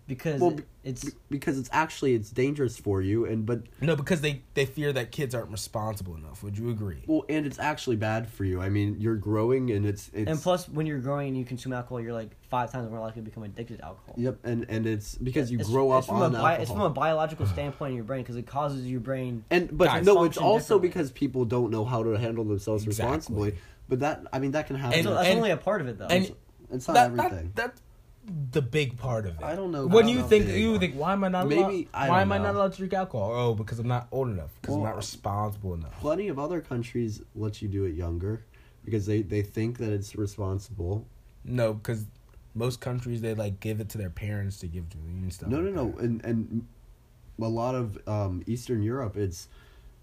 Speaker 2: because
Speaker 3: Well,
Speaker 2: it- it's
Speaker 3: Be- Because it's actually it's dangerous for you, and but
Speaker 1: No, because they they fear that kids aren't responsible enough. Would you agree?
Speaker 3: well, and it's actually bad for you. I mean, you're growing, and it's it's.
Speaker 2: and plus when you're growing and you consume alcohol, you're like five times more likely to become addicted to alcohol.
Speaker 3: Yep, and and it's because you
Speaker 2: It's-
Speaker 3: grow up
Speaker 2: it's from
Speaker 3: on
Speaker 2: a
Speaker 3: alcohol.
Speaker 2: bi- It's from a biological standpoint in your brain because it causes your brain.
Speaker 3: And but
Speaker 1: Guys,
Speaker 3: no, it's
Speaker 2: function
Speaker 3: also
Speaker 2: differently.
Speaker 3: because people don't know how to handle themselves
Speaker 1: Exactly.
Speaker 3: responsibly. But that I mean that can happen.
Speaker 1: And-
Speaker 2: So that's only a part of it, though.
Speaker 1: And
Speaker 3: it's not
Speaker 1: that,
Speaker 3: everything.
Speaker 1: that that's the big part of it.
Speaker 3: I don't know
Speaker 1: When
Speaker 3: about
Speaker 1: you
Speaker 3: the
Speaker 1: think
Speaker 3: big
Speaker 1: you
Speaker 3: part.
Speaker 1: think why am I not
Speaker 3: Maybe-
Speaker 1: allowed,
Speaker 3: I
Speaker 1: why am
Speaker 3: don't
Speaker 1: I not
Speaker 3: know.
Speaker 1: allowed to drink alcohol? Oh, because I'm not old enough. Because I'm
Speaker 3: Well,
Speaker 1: not responsible enough.
Speaker 3: Plenty of other countries let you do it younger. because they they think that it's responsible.
Speaker 1: No, because most countries they like give it to their parents to give to them and stuff.
Speaker 3: No, no,
Speaker 1: like
Speaker 3: no,
Speaker 1: that.
Speaker 3: and and a lot of um, Eastern Europe it's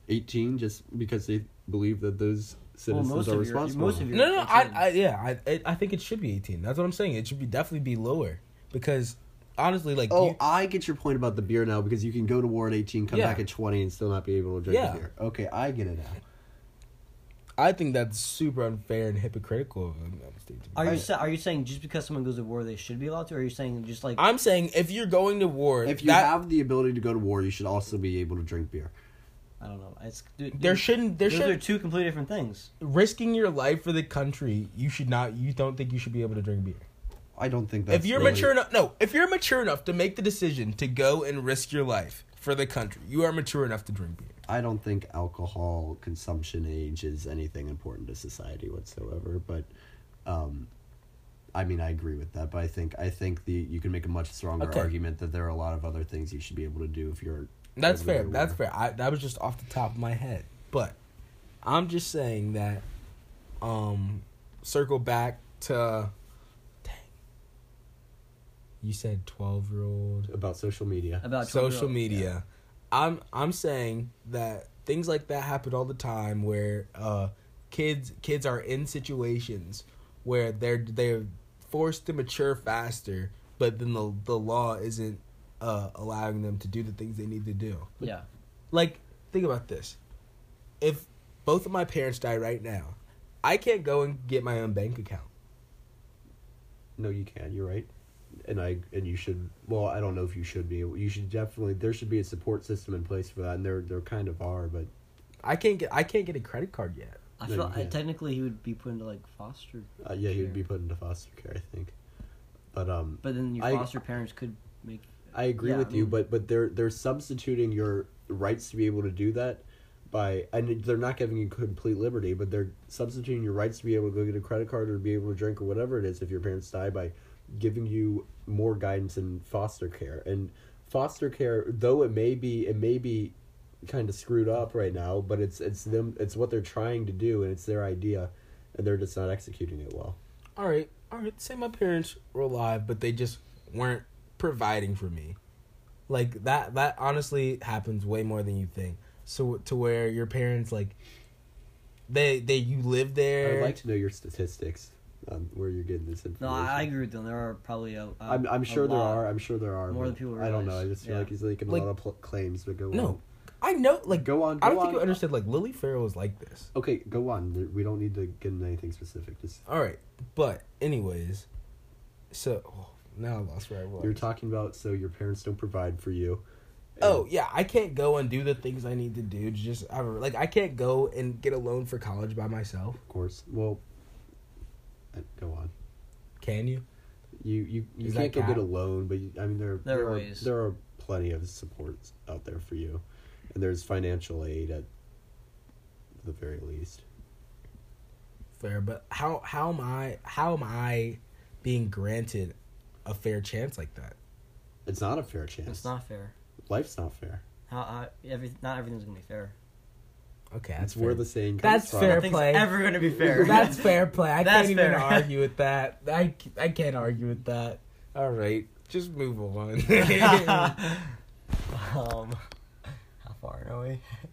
Speaker 3: eighteen just because they believe that those
Speaker 2: Well,
Speaker 3: citizens
Speaker 2: most
Speaker 3: are
Speaker 2: of your
Speaker 3: responsible.
Speaker 2: most of your
Speaker 1: No, no, I,
Speaker 2: 18.
Speaker 1: I, yeah, I, I- I think it should be eighteen. That's what I'm saying. It should be definitely be lower because honestly, like,
Speaker 3: Oh,
Speaker 1: you-
Speaker 3: I get your point about the beer now because you can go to war at 18, come
Speaker 1: Yeah.
Speaker 3: back at 20, and still not be able to drink
Speaker 1: Yeah.
Speaker 3: the beer. Okay, I get it now.
Speaker 1: I think that's super unfair and hypocritical of the United States.
Speaker 2: Are you
Speaker 1: I-
Speaker 2: sa- are you saying just because someone goes to war they should be allowed to? Or are you saying just like
Speaker 1: I'm saying if you're going to war,
Speaker 3: If you
Speaker 1: that,
Speaker 3: have the ability to go to war, you should also be able to drink beer.
Speaker 2: I don't know? It's dude,
Speaker 1: there
Speaker 2: dude,
Speaker 1: shouldn't there
Speaker 2: those
Speaker 1: should
Speaker 2: are two completely different things.
Speaker 1: risking your life for the country. You should not. You don't think you should be able to drink beer.
Speaker 3: I don't think that's
Speaker 1: if you're
Speaker 3: really-
Speaker 1: mature enough, no. If you're mature enough to make the decision to go and risk your life for the country, you are mature enough to drink beer.
Speaker 3: I don't think alcohol consumption age is anything important to society whatsoever. But, um, I mean, I agree with that. But I think I think the you can make a much stronger
Speaker 1: Okay.
Speaker 3: argument that there are a lot of other things you should be able to do if you're.
Speaker 1: That's
Speaker 3: Doesn't
Speaker 1: fair.
Speaker 3: really
Speaker 1: That's
Speaker 3: work.
Speaker 1: fair. I, that was just off the top of my head, but I'm just saying that. Um, circle back to. Dang. You said twelve year old.
Speaker 3: about social media.
Speaker 2: About
Speaker 1: social media. I'm I'm saying that things like that happen all the time where uh, kids kids are in situations where they're they're forced to mature faster, but then the the law isn't uh, allowing them to do the things they need to do.
Speaker 2: Yeah.
Speaker 1: Like think about this: if both of my parents die right now, I can't go and get my own bank account.
Speaker 3: No, you can. You're right. And I and you should. Well, I don't know if you should be. You should definitely. There should be a support system in place for that, and there there kind of are. But
Speaker 1: I can't get I can't get a credit card yet.
Speaker 2: I
Speaker 3: No,
Speaker 2: feel
Speaker 3: you
Speaker 2: I,
Speaker 3: can't.
Speaker 2: technically he would be put into like foster,
Speaker 3: uh, yeah, you'd
Speaker 2: Sure.
Speaker 3: be put into foster care, I think. But um,
Speaker 2: but then your
Speaker 3: I-
Speaker 2: foster parents could make.
Speaker 3: I agree
Speaker 2: Yeah,
Speaker 3: with
Speaker 2: I
Speaker 3: you.
Speaker 2: mean-
Speaker 3: But but they're they're substituting your rights to be able to do that by and they're not giving you complete liberty, but they're substituting your rights to be able to go get a credit card or be able to drink or whatever it is if your parents die by giving you more guidance in foster care and foster care though it may be it may be kind of screwed up right now but it's it's them it's what they're trying to do and it's their idea and they're just not executing it well
Speaker 1: all right, all right, say my parents were alive, but they just weren't providing for me. Like that that honestly happens way more than you think. So to where your parents like they they you live there.
Speaker 3: i'd like to know your statistics on where you're getting this
Speaker 2: No,
Speaker 3: information
Speaker 2: I, I agree with them. There are probably a. a
Speaker 1: Uh,
Speaker 3: I'm I'm
Speaker 2: a
Speaker 3: sure there
Speaker 2: lot.
Speaker 3: are. I'm sure there are.
Speaker 2: More than
Speaker 3: but
Speaker 2: people
Speaker 3: I don't know.
Speaker 2: realize.
Speaker 3: I just feel
Speaker 2: Yeah.
Speaker 3: like he's making
Speaker 1: Like-
Speaker 3: a lot of pl- claims, but go on.
Speaker 1: No. I know like
Speaker 3: Go on. Go
Speaker 1: I don't
Speaker 3: on.
Speaker 1: think you understand like Lily Farrell is like this.
Speaker 3: Okay, go on. There- We don't need to get into anything specific. Just
Speaker 1: All right. But anyways, so oh, now I lost where I was.
Speaker 3: you're talking about so your parents don't provide for you. and-
Speaker 1: Oh yeah, I can't go and do the things I need to do to just I don't, like I can't go and get a loan for college by myself.
Speaker 3: of course. Well, uh, go on.
Speaker 1: Can you?
Speaker 3: You you you
Speaker 1: Is that
Speaker 3: can't go get
Speaker 1: cap?
Speaker 3: a loan, but you, I mean there
Speaker 2: There are
Speaker 3: are
Speaker 2: ways.
Speaker 3: there are plenty of supports out there for you, and there's financial aid at the very least.
Speaker 1: fair but how how am i how am i being granted a fair chance like that
Speaker 3: It's not a fair chance.
Speaker 2: It's not fair.
Speaker 3: Life's not fair.
Speaker 2: How, how every not everything's gonna be fair.
Speaker 1: okay that's
Speaker 3: That's where
Speaker 1: fair.
Speaker 3: the saying comes
Speaker 1: That's
Speaker 3: from.
Speaker 1: fair
Speaker 2: Nothing's
Speaker 1: play.
Speaker 2: ever gonna be fair.
Speaker 1: that's fair play i
Speaker 2: That's
Speaker 1: can't even
Speaker 2: fair.
Speaker 1: argue with that I, I can't argue with that all right just move on
Speaker 2: um, how far are we?